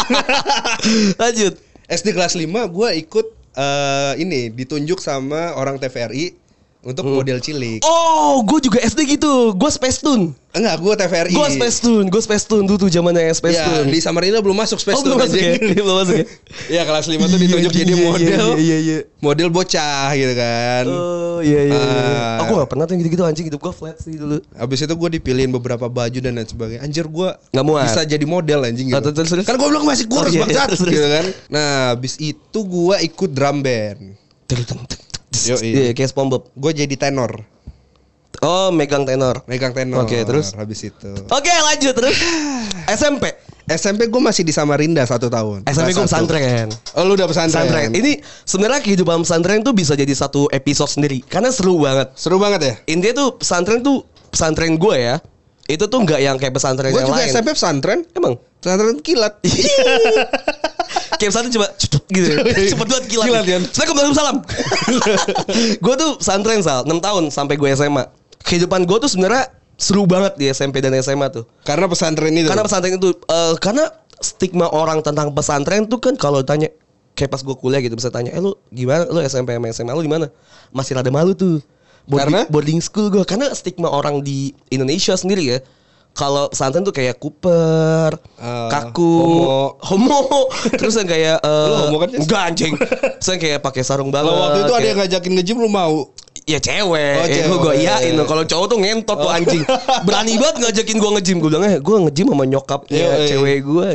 S2: lanjut
S3: SD kelas 5 gue ikut eh, ini ditunjuk sama orang TVRI untuk model cilik.
S2: Hmm. Oh, gue juga SD gitu. Gue Space Tune.
S3: Enggak, gue TVRI.
S2: Gue Space Tune. Gue Space Tune dulu tuh zamannya Space
S3: Ya,
S2: Tune.
S3: Iya. di Samarinda belum masuk
S2: Oh,
S3: Space
S2: belum
S3: Tune,
S2: masuk ya?
S3: anjing.
S2: Belum masuk ya?
S3: Iya, kelas 5 tuh
S2: Iya,
S3: ditunjuk
S2: iya,
S3: jadi
S2: iya,
S3: model.
S2: iya, iya.
S3: Model bocah gitu kan.
S2: Oh, iya iya. iya.
S3: Ah.
S2: Aku gak pernah tuh yang gitu-gitu anjing hidup gue flat sih dulu.
S3: Abis itu gue dipilihin beberapa baju dan lain sebagainya. Anjir gue
S2: Nggak muat.
S3: bisa jadi model anjing gitu.
S2: Ah, terus, terus.
S3: Kan gue bilang masih kurus
S2: Oh, iya,
S3: bangsat
S2: terus, terus.
S3: gitu kan. Nah abis itu gue ikut drum band. Yo,
S2: Iya,
S3: iya.
S2: kayak SpongeBob.
S3: Gue jadi tenor.
S2: Oh, megang tenor.
S3: Megang tenor.
S2: Oke, terus?
S3: Habis itu.
S2: Oke, lanjut terus. SMP.
S3: SMP gue masih di Samarinda satu tahun.
S2: SMP gue
S3: Kelas satu.
S2: pesantren. ya?
S3: Oh lu udah pesantren.
S2: Pesantren. Ini sebenarnya kehidupan pesantren tuh bisa jadi satu episode sendiri karena seru banget.
S3: Seru banget ya?
S2: Intinya tuh pesantren tuh pesantren gue ya. Itu tuh nggak yang kayak pesantren
S3: Gue
S2: yang
S3: juga
S2: lain.
S3: SMP pesantren.
S2: Emang
S3: Pesantren kilat.
S2: Kayak pesantren cuma cutut gitu Cepet banget gila
S3: Iya. Kilat, Yan.
S2: Assalamualaikum salam Gue tuh pesantren Sal 6 tahun sampai gue SMA Kehidupan gue tuh sebenarnya seru banget di SMP dan SMA tuh
S3: Karena pesantren itu.
S2: Karena pesantren itu eh, Karena stigma orang tentang pesantren tuh kan kalau tanya Kayak pas gue kuliah gitu bisa tanya Eh lu gimana lu SMP sama SMA lu gimana Masih rada malu tuh
S3: Karena?
S2: Boarding, boarding school gue Karena stigma orang di Indonesia sendiri ya kalau pesantren tuh kayak Cooper,
S3: Eh,
S2: kaku,
S3: homo.
S2: homo, terus yang kayak eh,
S3: Lu homo kan, Jess?
S2: enggak anjing, terus yang kayak pakai sarung banget.
S3: Kalau waktu itu ada
S2: kayak-
S3: yang ngajakin nge-gym lu mau.
S2: ya cewek,
S3: Oh,
S2: ya gue
S3: cewek.
S2: gue iyain loh. Kalau cowok tuh ngentot tuh
S3: Oh.
S2: anjing, berani banget ngajakin gue ngejim. Gue bilang eh gue ngejim sama nyokapnya
S3: Iya, iya.
S2: cewek gue.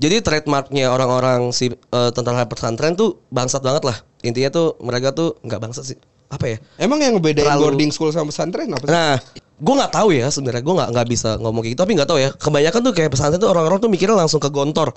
S2: Jadi trademarknya orang-orang si eh, tentara pesantren tuh bangsat banget lah. Intinya tuh mereka tuh nggak bangsat sih. Apa ya?
S3: Emang yang ngebedain
S2: Terlalu-
S3: boarding school sama pesantren apa sih?
S2: Nah, gue nggak tahu ya sebenarnya gue nggak nggak bisa ngomong kayak gitu tapi nggak tahu ya. Kebanyakan tuh kayak pesantren tuh orang-orang tuh mikirnya langsung ke gontor.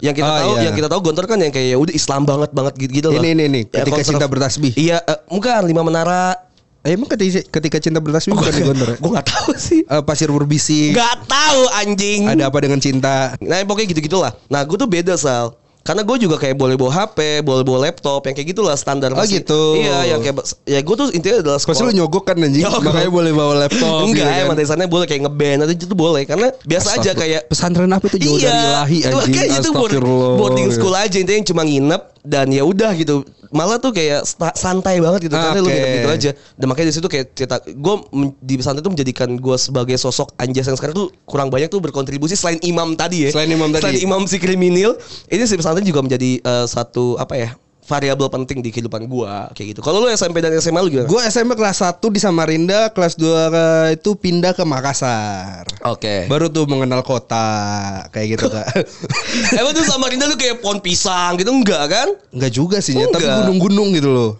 S2: Yang kita
S3: Oh,
S2: tahu,
S3: iya.
S2: yang kita tahu gontor kan yang kayak ya udah Islam banget banget gitu gitu loh.
S3: Ini, ini, ini,
S2: Ya,
S3: ketika
S2: konserv-
S3: cinta bertasbih.
S2: Iya, eh, bukan lima menara.
S3: Eh, Emang ketika, ketika cinta bertasbih bukan di Gondor ya?
S2: gue nggak tahu sih.
S3: Eh, pasir berbisik.
S2: Nggak tahu anjing.
S3: Ada apa dengan cinta?
S2: Nah pokoknya gitu-gitulah. Nah gue tuh beda Sal. Karena gue juga kayak boleh bawa HP, boleh bawa laptop, yang kayak gitulah standar.
S3: Oh,
S2: masih-
S3: gitu.
S2: Iya, yang kayak ya gue tuh intinya adalah
S3: Pasti
S2: sekolah-
S3: lu nyogok kan anjing
S2: Oh. Nyogok.
S3: Makanya boleh bawa laptop
S2: Enggak,
S3: gitu kan.
S2: emang dasarnya boleh kayak ngeband atau itu boleh karena biasa aja
S3: Astagfirullah.
S2: kayak
S3: Pesantren apa itu jauh dari ilahi anjing
S2: Makanya Iya. itu gitu, board-
S3: Astagfirullah. ya.
S2: boarding school aja intinya yang cuma nginep dan ya udah gitu. Malah tuh kayak sta- santai banget gitu karena lu
S3: Ah, Oke.
S2: nginep gitu aja. Dan makanya di situ kayak cerita gue di pesantren tuh menjadikan gue sebagai sosok anjas yang sekarang tuh kurang banyak tuh berkontribusi selain imam tadi ya.
S3: Selain imam tadi.
S2: Selain imam si kriminal, ini si pesantren juga menjadi eh, satu apa ya? variabel penting di kehidupan gua kayak gitu. Kalau lu SMP dan SMA lu gimana?
S3: Gue SMP kelas 1 di Samarinda Kelas 2 itu pindah ke Makassar
S2: Oke.
S3: Baru tuh mengenal kota Kayak gitu kak
S2: Emang tuh Samarinda tuh kayak pohon pisang gitu enggak kan?
S3: Enggak juga sih Nyet, Tapi
S2: Enggak.
S3: gunung-gunung gitu loh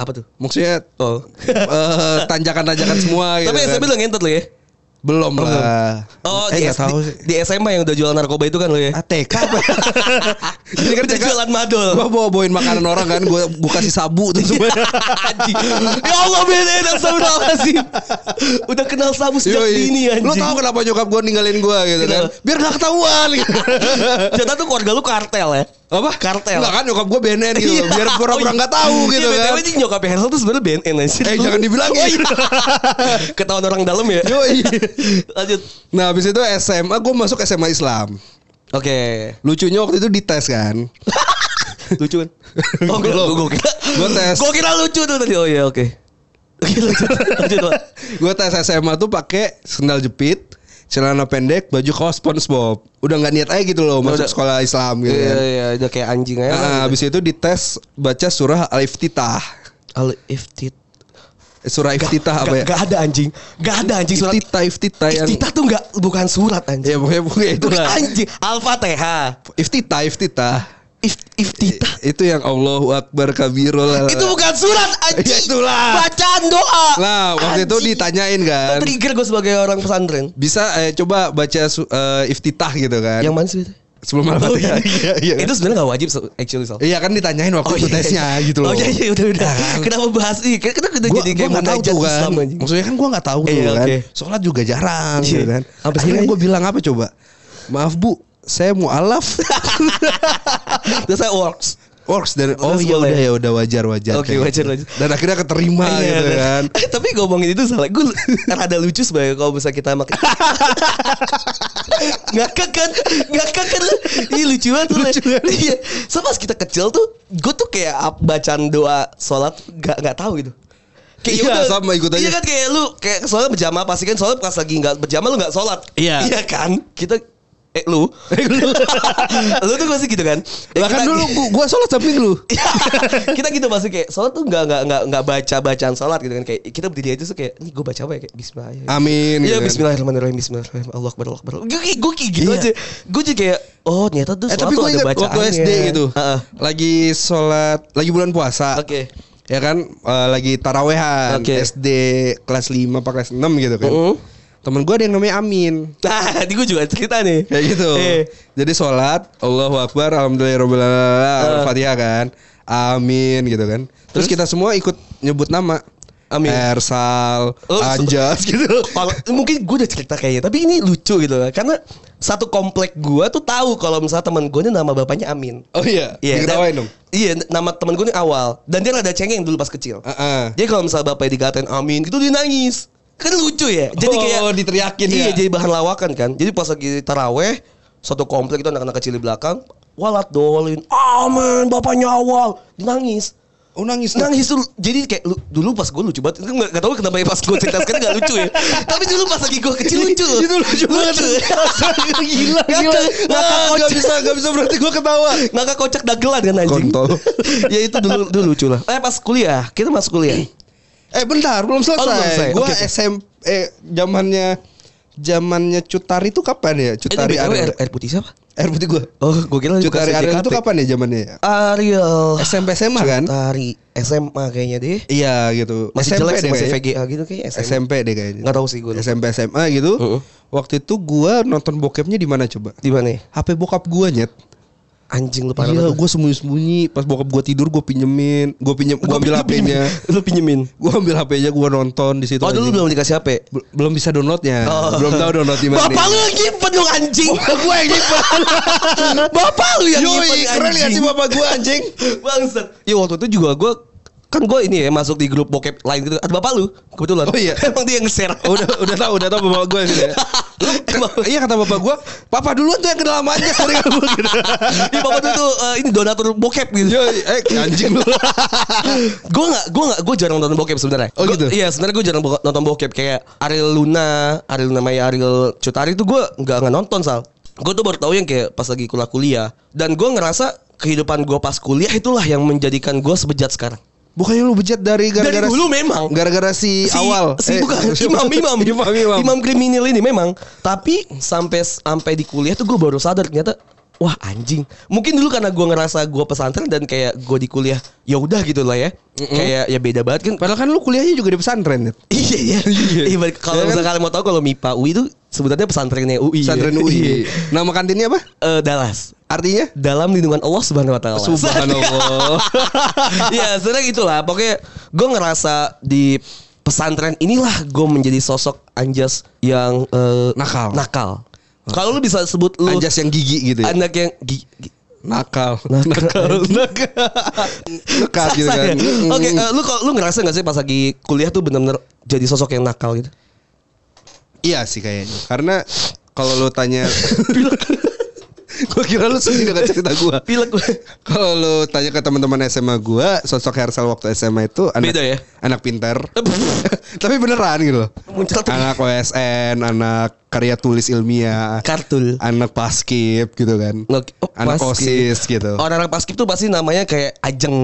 S2: Apa tuh?
S3: Maksudnya
S2: Oh.
S3: eh, Tanjakan-tanjakan semua gitu
S2: Tapi
S3: kan.
S2: SMP lo ngentot lo ya?
S3: Belum lah
S2: Oh,
S3: Eh
S2: di,
S3: gak tau
S2: di, di SMA yang udah jual narkoba itu kan lo ya?
S3: ATK apa? Jadi kan
S2: Udah
S3: TK
S2: jualan madol.
S3: Gue bawa bawain makanan orang kan Gue kasih sabu
S2: Iya,
S3: tuh semua
S2: Anjing. ya Allah beda dan saudara sih. Udah kenal sabu sejak
S3: Yoi.
S2: dini iya, anjing.
S3: Lu tau kenapa nyokap gue ninggalin gue gitu kan?
S2: Kenapa?
S3: Biar gak ketahuan.
S2: Ternyata tuh keluarga lu kartel ya?
S3: Apa?
S2: Kartel.
S3: Enggak kan nyokap gue BNN gitu loh, Biar pura-pura gak tahu gitu
S2: Oh, Iya,
S3: kan
S2: BTW ini nyokapnya Hansel tuh sebenarnya BNN anjir.
S3: Eh jangan dibilangin
S2: Ketahuan orang dalam ya.
S3: Yoi.
S2: Lanjut.
S3: Nah habis itu SMA Gue masuk SMA Islam
S2: Oke.
S3: Lucunya waktu itu dites kan
S2: Lucu kan? Oh, gue
S3: Belum.
S2: gue kira.
S3: Gua tes.
S2: Gue kira lucu tuh tadi. Oh iya, oke. Oke, lanjut. Lanjut, Pak.
S3: Gue tes SMA tuh pakai sendal jepit, celana pendek, baju kaos SpongeBob. Udah nggak niat aja gitu loh masuk
S2: Udah.
S3: sekolah Islam gitu
S2: Iya,
S3: kan.
S2: iya, udah kayak anjing aja.
S3: Nah,
S2: lah.
S3: habis itu dites baca surah Al-Iftitah.
S2: Alif tit.
S3: Eh, Surah Iftitah apa ya?
S2: Gak ada anjing. Gak ada anjing surat.
S3: Iftitah, ya. Iftitah yang
S2: Iftitah tuh gak bukan surat anjing.
S3: Ya pokoknya, pokoknya itu lah.
S2: Anjing, Al-Fatihah.
S3: Iftitah, Iftitah.
S2: If- Iftitah.
S3: Itu yang Allahu Akbar kabirul.
S2: Itu bukan surat anjing.
S3: Ya, Iya. itulah.
S2: Bacaan doa.
S3: Lah, waktu itu
S2: Anjing.
S3: ditanyain kan.
S2: Trigger gue sebagai orang pesantren.
S3: Bisa eh, coba baca su- eh, Iftitah gitu kan.
S2: Yang Oh, mana sih itu?
S3: sebelum Al-Fatihah. Iya, iya.
S2: Itu sebenarnya gak wajib so- actually Sal.
S3: Iya kan ditanyain waktu itu tesnya gitu loh.
S2: Oh iya iya udah udah. Kenapa bahas ini? Kan Kita kita udah
S3: Gua,
S2: jadi kayak
S3: gua gak tahu
S2: munajat
S3: tuh kan.
S2: Islam anjing.
S3: Maksudnya kan gua gak tahu tuh
S2: Iya,
S3: kan.
S2: oke.
S3: Sholat juga jarang gitu
S2: Iya.
S3: kan.
S2: Sampai
S3: Akhirnya
S2: sekarang
S3: gua bilang apa coba? Maaf bu, saya mau alaf.
S2: Terus saya works.
S3: Works dan oh
S2: Terus
S3: iya
S2: boleh.
S3: udah ya udah wajar wajar.
S2: Oke,
S3: kayak
S2: wajar,
S3: gitu.
S2: wajar.
S3: Dan akhirnya keterima
S2: Iya,
S3: gitu
S2: dan-
S3: kan.
S2: Eh, Tapi ngomongin itu salah. Gue rada lucu sebagai kalau bisa kita makan. Ngakak kan? Ngakak kan? lu? Iya lucu banget. lu. Iya. So pas kita kecil tuh, gue tuh kayak ap- bacaan doa sholat gak nggak tahu gitu.
S3: Iya, sama, ikut aja.
S2: Iya kan kayak lu kayak soalnya berjamaah pasti kan soalnya pas lagi nggak berjamaah lu nggak sholat.
S3: Iya.
S2: Iya kan? Kita eh lu, lu tuh pasti gitu kan? Ya, kita-
S3: Bahkan dulu gua, gua sholat samping lu.
S2: kita gitu pasti kayak sholat tuh nggak nggak nggak nggak baca bacaan sholat gitu kan kayak kita berdiri aja tuh kayak ini gue baca apa ya kayak Bismillah ya.
S3: Amin.
S2: Iya
S3: gitu kan.
S2: Bismillahirrahmanirrahim Bismillahirrahmanirrahim Allah akbar Allah akbar Gue kayak gue kayak gitu
S3: Iya.
S2: aja Gue jadi kayak Oh ternyata tuh
S3: Eh
S2: sholat
S3: tapi
S2: tuh
S3: gue
S2: ada
S3: ingat
S2: bacaannya
S3: waktu SD gitu
S2: Heeh.
S3: Lagi sholat Lagi bulan puasa
S2: Oke.
S3: Ya kan eh, Lagi tarawehan
S2: Oke.
S3: SD kelas 5 apa kelas 6 gitu kan
S2: Mm-mm.
S3: Temen gue ada yang namanya Amin
S2: Nah ini gue juga cerita nih
S3: Kayak gitu
S2: Eh.
S3: Jadi sholat Allahu Akbar
S2: Eh.
S3: Alhamdulillah Al-Fatihah kan Amin gitu kan Terus, kita semua ikut nyebut nama
S2: Amin.
S3: Ersal
S2: Oh,
S3: Anjas gitu
S2: Kalau- mungkin gue udah cerita kayaknya tapi ini lucu gitu kan karena satu komplek gue tuh tahu kalau misalnya teman gue ini nama bapaknya Amin
S3: Oh iya
S2: Iya, dan-
S3: Diketawain dong
S2: Iya, nama temen gue ini awal dan dia rada cengeng dulu pas kecil.
S3: Heeh.
S2: Jadi kalau misalnya bapaknya dikatain amin gitu dia nangis. Kan lucu ya. Jadi
S3: Oh,
S2: kayak
S3: diteriakin
S2: iya,
S3: ya?
S2: jadi bahan lawakan kan. Jadi pas lagi taraweh satu komplek itu anak-anak kecil di belakang walat dolin amin bapaknya awal Dia nangis
S3: Oh nangis tuh.
S2: nangis tuh jadi kayak lu- dulu pas gue lucu banget nggak, nggak tahu kenapa ya pas gue cerita sekarang nggak lucu ya tapi dulu pas lagi gue kecil lucu loh.
S3: Itu lucu banget.
S2: gila
S3: Gila, gak bisa, gak bisa berarti gue ketawa.
S2: Ngakak kocak dagelan kan anjing
S3: Kontol.
S2: Ya itu dulu, dulu lucu lah Eh pas kuliah Kita masuk kuliah
S3: Eh bentar, belum selesai.
S2: Oh, belum selesai.
S3: Gua
S2: Oke, oke.
S3: SM eh zamannya zamannya Cutari itu kapan ya?
S2: Eh
S3: Cutari
S2: BTW,
S3: Ariel.
S2: air, air putih siapa?
S3: Air putih gua.
S2: Oh gue kira
S3: Cutari
S2: kelas
S3: Ariel
S2: JKT.
S3: itu kapan ya zamannya? ya?
S2: Ariel
S3: SMP SMA kan?
S2: Cutari SMA kayaknya deh
S3: Iya gitu.
S2: Masih
S3: SMP
S2: jelek sih
S3: deh
S2: masih
S3: kayaknya.
S2: VGA gitu kayaknya SMA
S3: SMP deh kayaknya.
S2: Nggak tahu sih gua.
S3: SMP SMA gitu.
S2: Heeh.
S3: Waktu itu gua nonton bokepnya di mana coba?
S2: Di mana ya?
S3: HP bokap gua nyet.
S2: Anjing lu parah
S3: Iya,
S2: banget.
S3: gua sembunyi-sembunyi. Pas bokap gua tidur, gua pinjemin. Gua pinjem,
S2: Lu
S3: gua
S2: pinjemin.
S3: ambil HP-nya.
S2: Lu pinjemin
S3: Gua ambil HP-nya, gua nonton di situ.
S2: Oh dulu
S3: anjing.
S2: belum dikasih HP
S3: Bel- belum bisa downloadnya
S2: Oh.
S3: belum tahu download di mana
S2: Bapak lu yang nyimpen lu anjing
S3: gue yang nyimpen
S2: Bapak lu yang nyimpen
S3: yoi keren gak sih
S2: anjing.
S3: bapak gue anjing
S2: Bangsat. Ya waktu itu juga gue kan gue ini ya masuk di grup bokep lain gitu. Ada bapak lu kebetulan.
S3: Oh iya.
S2: Emang dia yang share.
S3: Oh, udah udah tahu udah tahu bapak gue sih ya.
S2: Emang
S3: iya kata bapak gue papa duluan tuh yang ke dalam aja sorry kamu gitu
S2: Iya bapak tuh tuh eh, ini donatur bokep gitu.
S3: yoi eh anjing lu
S2: Gue nggak, gue nggak, gue jarang nonton bokep sebenarnya.
S3: Oh,
S2: Gua-
S3: gitu?
S2: Iya sebenarnya gue jarang bo- nonton bokep kayak Ariel Luna, Ariel namanya Ariel Cutari tuh gue nggak nggak nonton sal. Gue tuh baru tahu yang kayak pas lagi kuliah kuliah. Dan gue ngerasa kehidupan gue pas kuliah itulah yang menjadikan gue sebejat sekarang.
S3: bukannya lu bejat dari gara-gara
S2: Dari dulu memang.
S3: gara-gara si,
S2: si
S3: awal
S2: si
S3: Eh,
S2: bukan
S3: si-
S2: imam imam
S3: imam imam
S2: kriminal ini memang tapi sampai sampai di kuliah tuh gue baru sadar ternyata wah anjing mungkin dulu karena gue ngerasa gue pesantren dan kayak gue di kuliah ya udah gitu lah ya kayak ya beda banget kan
S3: padahal kan lu kuliahnya juga di pesantren Net.
S2: Iya iya.
S3: Iya.
S2: Iya. balik- Kalau
S3: Ya kan?
S2: misalnya kalian mau tahu kalau MIPA UI itu sebutannya pesantrennya UI. ya.
S3: pesantren
S2: Iya.
S3: UI nama kantinnya apa
S2: Eh, Dallas.
S3: artinya
S2: Dalam lindungan Allah Subhanahu wa taala.
S3: subhanallah
S2: ya sebenarnya gitulah pokoknya gue ngerasa di pesantren inilah gue menjadi sosok anjas yang eh,
S3: Nakal.
S2: nakal kalau lu bisa sebut lu
S3: anjas yang gigi gitu ya
S2: anak yang gi- gi-
S3: nakal
S2: Nakal.
S3: Nekat gitu
S2: Saksa ya?
S3: kan. Mm-mm.
S2: Oke, eh, lu kok- lu ngerasa gak sih pas lagi kuliah tuh benar-benar jadi sosok yang nakal gitu?
S3: Iya sih kayaknya. Karena kalau lu tanya Gue kira lu sedih dengan cerita gue
S2: Pilek gue.
S3: Kalau lu tanya ke teman-teman SMA gue Sosok Hersal waktu SMA itu anak,
S2: Beda ya?
S3: Anak pinter Tapi beneran gitu loh
S2: Muncrat.
S3: Anak OSN Anak karya tulis ilmiah
S2: Kartul.
S3: Anak paskib gitu kan
S2: Oke. Oh,
S3: Anak
S2: paskib.
S3: OSIS gitu
S2: Orang-orang paskib tuh pasti namanya kayak Ajeng,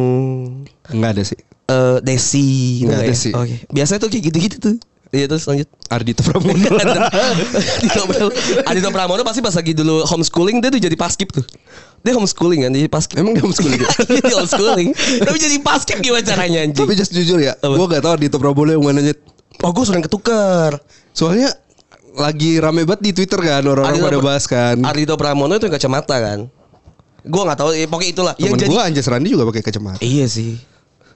S3: Enggak ada sih
S2: eh, Desi, gitu
S3: Iya,
S2: ya?
S3: Desi.
S2: Oke. Biasanya tuh kayak gitu-gitu tuh. Iya terus lanjut.
S3: Ardito Pramono
S2: Adito Pramono. Adito Pramono pasti pas lagi dulu homeschooling dia tuh jadi paskib tuh. Dia homeschooling kan, jadi paskib.
S3: Emang dia homeschooling ya?
S2: Dia homeschooling. Tapi jadi paskib gimana caranya anjing?
S3: Tapi just jujur ya
S2: Apa?
S3: Gue gak tau Ardito Pramono yang mana Nyet.
S2: Oh gue sering ketukar.
S3: Soalnya lagi rame banget di Twitter kan orang-orang
S2: Ardhito
S3: pada
S2: Pra-
S3: bahas kan.
S2: Ardhito Pramono itu yang kacamata kan. Gua nggak tahu, eh, pokoknya itulah.
S3: Temen gua Anjas Randi juga pakai kacamata.
S2: Iya sih.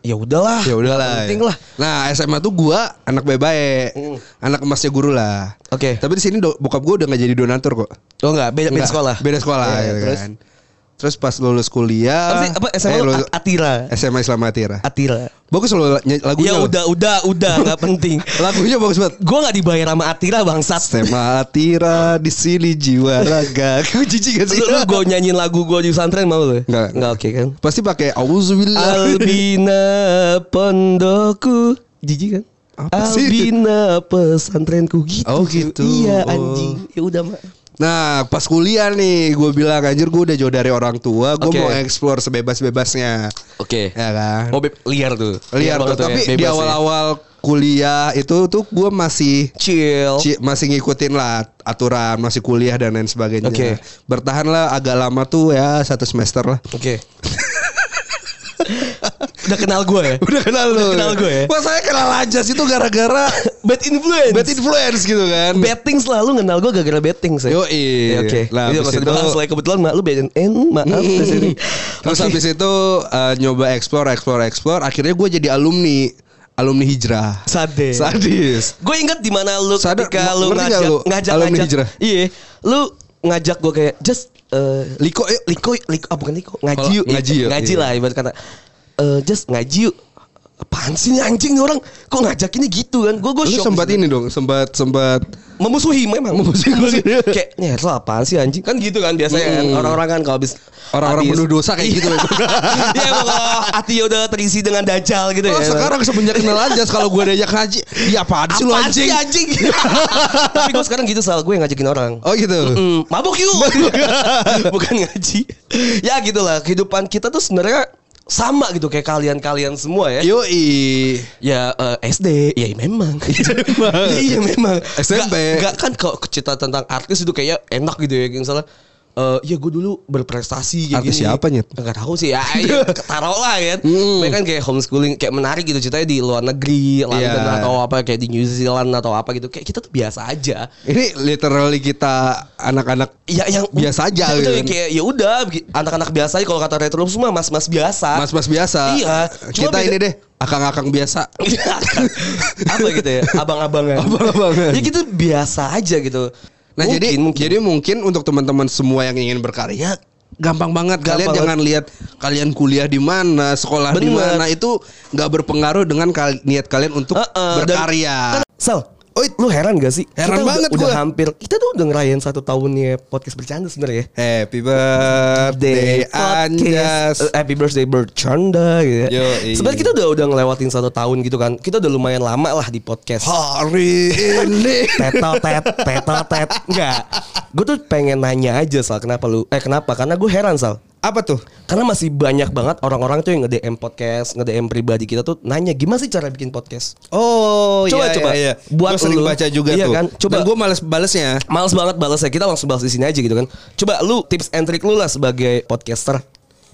S2: Ya udahlah.
S3: Ya
S2: Nggak
S3: udahlah.
S2: Penting
S3: ya.
S2: lah. Hmm.
S3: Nah, SMA tuh gua anak baik-baik. Anak emasnya guru lah.
S2: Oke.
S3: Tapi di sini do- bokap gua udah nggak jadi donatur kok.
S2: Oh enggak, beda, beda
S3: Nggak,
S2: sekolah.
S3: Beda sekolah
S2: Iya,
S3: gitu
S2: terus?
S3: kan. Terus pas lulus kuliah
S2: Apa sih? Apa SMA
S3: eh,
S2: lu
S3: lulus-
S2: Atira.
S3: SMA Islam Atira.
S2: Atira.
S3: Bagus loh la- ny-
S2: Ya
S3: lagunya. loh.
S2: udah, udah, udah nggak penting.
S3: Lagunya bagus banget.
S2: Gua nggak dibayar sama Atira bangsat.
S3: SMA Atira di sini jiwa raga. Kamu jijik gak sih?
S2: Lu, lu gue nyanyiin lagu gue di pesantren mau lu?
S3: Nggak.
S2: Nggak oke kan?
S3: Pasti pakai auzubillah.
S2: Albina pondokku Jijik kan?
S3: Apa sih?
S2: Albina pesantrenku gitu.
S3: Oh, gitu.
S2: Iya
S3: Oh.
S2: anjing. Ya udah mak.
S3: Nah pas kuliah nih gue bilang anjir gue udah jauh dari orang tua Gue
S2: Oke.
S3: mau explore sebebas-bebasnya
S2: Oke.
S3: Ya kan
S2: Oh be- liar tuh.
S3: Liar tuh
S2: banget tuh
S3: Tapi
S2: ya,
S3: di
S2: bebas ya.
S3: awal-awal kuliah itu tuh gue masih
S2: chill.
S3: ci- masih ngikutin lah aturan masih kuliah dan lain sebagainya
S2: Oke.
S3: bertahanlah agak lama tuh ya satu semester lah
S2: Oke. udah kenal gue ya.
S3: udah kenal lu
S2: kenal gue ya?
S3: Wah, saya kenal aja sih itu gara-gara
S2: Bad influence.
S3: bad influence gitu kan
S2: Betting selalu kenal gue gara-gara betting sih.
S3: yo
S2: Ya, Oke.
S3: lah
S2: Iya,
S3: abis
S2: maksud
S3: Nah, itu-
S2: gue langsung aja kebetulan mak lu betting. Eh, maaf di sini.
S3: Terus
S2: Oke.
S3: habis itu eh, nyoba explore, explore, explore. Akhirnya gue jadi alumni, alumni hijrah.
S2: Sade.
S3: Sadis.
S2: Gue inget di mana lu
S3: Sadar,
S2: ketika
S3: ng-
S2: lu
S3: ngerti
S2: ngajak
S3: nggak lu?
S2: ngajak
S3: Alumni
S2: ngajak.
S3: hijrah.
S2: Iya, lu ngajak gue kayak just eh,
S3: Liko, yuk.
S2: liko liko ah bukan liko ngaji
S3: Kalau
S2: yuk
S3: ngaji yuk,
S2: ngaji
S3: iya.
S2: lah ibarat kata Eh, just ngaji yuk apaan sih nih anjing nih orang kok ngajakinnya gitu kan gue gue
S3: Lu
S2: shock
S3: sempat
S2: di situ.
S3: ini dong, sempat sempat
S2: memusuhi memang
S3: Memusuhi gua.
S2: kayak nih lo apaan sih anjing kan gitu kan biasanya kan
S3: Mm.
S2: orang-orang kan kalau habis
S3: orang-orang
S2: habis-
S3: penuh dosa kayak gitu.
S2: Iya emang kalau hati udah terisi dengan dajal gitu ya
S3: Oh, sekarang semenjak kenal aja kalau gue diajak haji, iya apaan sih lu
S2: Apaan
S3: anjing?
S2: sih anjing? Tapi gue sekarang gitu soal gue yang ngajakin orang.
S3: Oh gitu.
S2: Mm, mabuk yuk. Bukan ngaji. Ya gitulah kehidupan kita tuh sebenarnya sama gitu kayak kalian-kalian semua ya.
S3: Eh, Yoi.
S2: Ya eh, SD, ya memang. iya memang.
S3: SMP.
S2: Gak, kan kalau cerita tentang artis itu kayaknya enak gitu ya, yang salah. Eh, ya gue dulu berprestasi kayak
S3: Artis
S2: gini.
S3: siapa, Nyet?
S2: Nggak tahu sih ya, ya taruh lah kan.
S3: Hmm.
S2: Mereka kan kayak homeschooling, kayak menarik gitu ceritanya di luar negeri, London
S3: Iya.
S2: atau apa kayak di New Zealand atau apa gitu. Kayak kita tuh biasa aja.
S3: Ini literally kita anak-anak
S2: Ya yang
S3: Biasa aja
S2: Itu
S3: gitu.
S2: yang kayak ya udah begi- anak-anak biasa aja kalau kata retro semua mas-mas biasa.
S3: mas-mas biasa. Eh,
S2: Iya. Cuma
S3: Kita
S2: beda-
S3: ini deh akang-akang biasa.
S2: apa gitu ya abang-abangan
S3: Iya. Abang-abangan.
S2: ya kita biasa aja gitu
S3: Nah jadi jadi mungkin untuk teman-teman semua yang ingin berkarya gampang banget kalian
S2: Gampang
S3: jangan lihat kalian kuliah di mana sekolah di
S2: Bener.
S3: mana itu nggak berpengaruh dengan kal- niat kalian untuk
S2: Heeh, dan-
S3: berkarya.
S2: Sal, Oi, lu heran gak sih? kita
S3: Heran
S2: udah-
S3: banget
S2: udah,
S3: gua.
S2: hampir kita tuh udah ngerayain satu tahunnya podcast bercanda sebenarnya ya.
S3: Happy birthday Anjas.
S2: podcast, eh, happy birthday bercanda gitu. ya.
S3: Yoi.
S2: Sebenarnya kita udah udah ngelewatin satu tahun gitu kan. Kita udah lumayan lama lah di podcast.
S3: Hari ini.
S2: tetotet tetotet enggak gue tuh pengen nanya aja sal kenapa lu eh kenapa karena gue heran sal
S3: Apa tuh?
S2: karena masih banyak banget orang-orang tuh yang nge-DM podcast, nge-DM pribadi kita tuh nanya gimana sih cara bikin podcast.
S3: Oh
S2: Coba,
S3: iya
S2: coba.
S3: iya.
S2: Buat
S3: Buat sering
S2: lu.
S3: baca juga
S2: Iya
S3: tuh.
S2: kan? Coba.
S3: Dan gue males balesnya.
S2: Males banget balasnya, kita langsung balas di sini aja gitu kan. Coba lu tips and trick lu lah sebagai podcaster.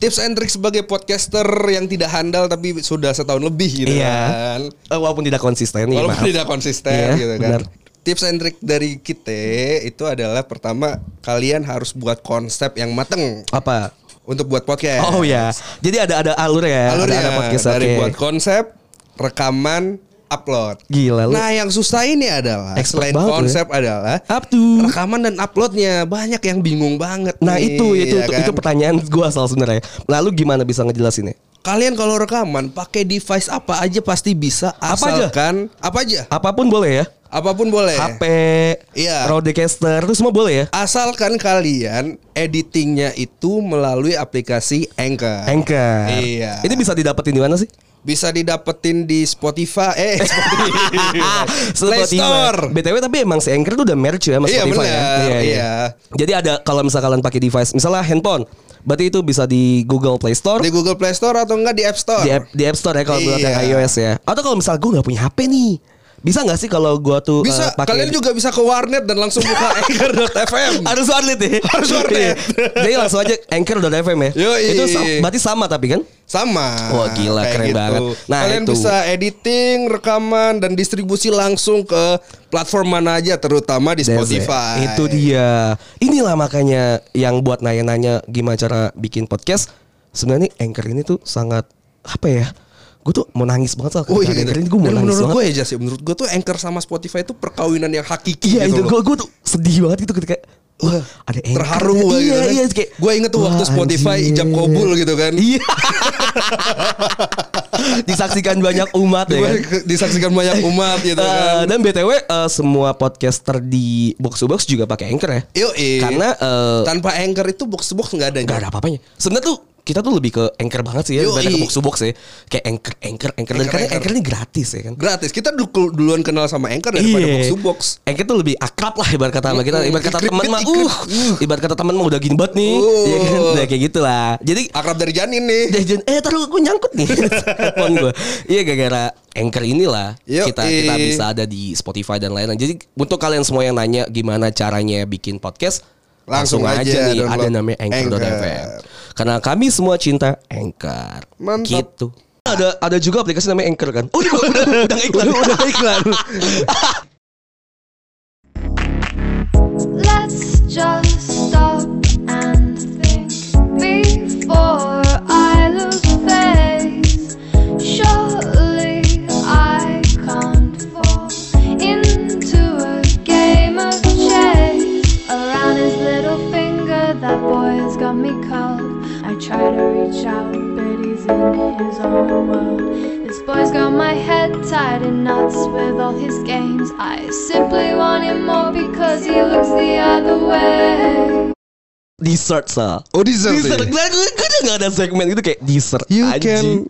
S3: Tips and trick sebagai podcaster yang tidak handal tapi sudah setahun lebih gitu kan.
S2: Eh, Walaupun tidak konsisten ya,
S3: Walaupun
S2: maaf.
S3: tidak konsisten
S2: Iya,
S3: gitu kan.
S2: benar.
S3: Tips and trick dari kita itu adalah pertama kalian harus buat konsep yang mateng
S2: Apa?
S3: untuk buat podcast.
S2: Oh ya. Jadi ada ada alur ya,
S3: Alurnya
S2: ada ada podcast oke.
S3: dari buat konsep, rekaman, upload.
S2: Gila lu.
S3: Nah, yang susah ini adalah
S2: Expert
S3: selain
S2: banget lu ya.
S3: konsep adalah
S2: Up to.
S3: Hmm. rekaman dan uploadnya banyak yang bingung banget.
S2: Nah
S3: nih,
S2: itu itu
S3: ya
S2: itu,
S3: kan?
S2: itu pertanyaan gua asal sebenarnya. Lalu gimana bisa ngejelasinnya?
S3: Kalian kalau rekaman pakai device apa aja pasti bisa
S2: Apa aja?
S3: asalkan apa aja,
S2: Apapun boleh ya.
S3: apapun boleh.
S2: HP,
S3: Eh. Iya.
S2: Rodecaster itu semua boleh ya.
S3: Asalkan kalian editingnya itu melalui aplikasi Anchor.
S2: Anchor.
S3: Ah. Iya.
S2: Ini bisa didapetin di mana sih?
S3: Bisa didapetin di Spotify, eh Spotify. Play
S2: Spotify.
S3: Store.
S2: BTW tapi emang si Anchor itu udah merge ya sama
S3: Iya,
S2: Spotify ya.
S3: benar. Iya.
S2: Jadi ada kalau misal kalian pakai device, misalnya handphone, berarti itu bisa di Google Play Store,
S3: Di Google Play Store atau enggak di App Store?
S2: di app, di app Store ya kalau buat yang
S3: Iya.
S2: iOS ya. Atau kalau misal gue nggak punya HP nih, bisa nggak sih kalau gue tuh eh,
S3: Bisa.
S2: pakai-
S3: Kalian juga bisa ke warnet dan langsung buka anchor.fm.
S2: harus warnet ya
S3: Harus warnet.
S2: Iya. Jadi langsung aja anchor.fm ya
S3: Yoi.
S2: Itu sama, berarti sama tapi kan
S3: Sama.
S2: Wah, gila,
S3: Kayak gitu.
S2: keren banget. Nah,
S3: Kalian
S2: itu.
S3: bisa editing, rekaman dan distribusi langsung ke platform mana aja terutama di Spotify.
S2: Itu dia Inilah makanya yang buat nanya-nanya gimana cara bikin podcast Sebenarnya anchor ini tuh sangat apa ya Gue tuh mau nangis banget soal
S3: Oh
S2: ketika
S3: iya, gitu.
S2: dengerin gue mau
S3: Dan
S2: nangis
S3: menurut
S2: banget
S3: gue ya Jas, ya, menurut gue tuh Anchor sama Spotify itu perkawinan yang hakiki
S2: Iya itu
S3: gitu loh.
S2: gue gue tuh sedih banget gitu ketika Wah, ada anchor
S3: terharu
S2: ya.
S3: gue
S2: iya,
S3: gitu kan.
S2: iya, kayak,
S3: Gue inget tuh waktu
S2: wah,
S3: Spotify
S2: anjir.
S3: ijab kobul gitu kan.
S2: Iya. Disaksikan banyak umat ya kan.
S3: Disaksikan banyak umat gitu
S2: Eh,
S3: kan.
S2: dan BTW eh, semua podcaster di Box to Box juga pakai Anchor ya.
S3: Yoi.
S2: Karena eh,
S3: tanpa anchor itu box to box nggak ada.
S2: nggak
S3: Jas.
S2: ada apa-apanya. Sebenarnya tuh kita tuh lebih ke Anchor banget sih ya
S3: Yoi.
S2: daripada ke Box to Box ya. Kayak Anchor, Anchor, Anchor. Dan
S3: Anchor,
S2: karena
S3: Anchor.
S2: Anchor ini gratis ya kan.
S3: Gratis. Kita du- duluan kenal sama anchor daripada
S2: Iya.
S3: box to box.
S2: Anchor tuh lebih akrab lah ibarat kata sama kita.
S3: Mm-mm.
S2: Ibarat kata
S3: Ikrip,
S2: teman mah
S3: ikrip,
S2: uh, ibarat kata teman mah udah gini banget nih.
S3: Uh.
S2: Iya kan? Udah kayak gitulah. Jadi
S3: Akrab dari janin nih.
S2: jajan eh taruh gue nyangkut nih handphone gue iya gara-gara anchor inilah
S3: Yoi.
S2: kita kita bisa ada di Spotify dan lain-lain jadi untuk kalian semua yang nanya gimana caranya bikin podcast langsung,
S3: Langsung
S2: aja,
S3: aja
S2: nih
S3: download
S2: ada namanya anchor.fm
S3: Anchor.
S2: karena kami semua cinta anchor
S3: Mantap.
S2: gitu ada ada juga aplikasi namanya anchor kan udah udah udah iklan udah iklan
S1: Let's just stop and think before I lose face. Surely I can't fall into a game of chase. Around his little finger, that boy's got me cold. I try to reach out, but he's in his own world. This boy's got my head tied in knots with all his games. I simply want him more because he looks the other way.
S2: dessert sal
S3: Oh dessert.
S2: dessert gue gue gue udah nggak ada segmen itu kayak dessert
S3: You
S2: anjing.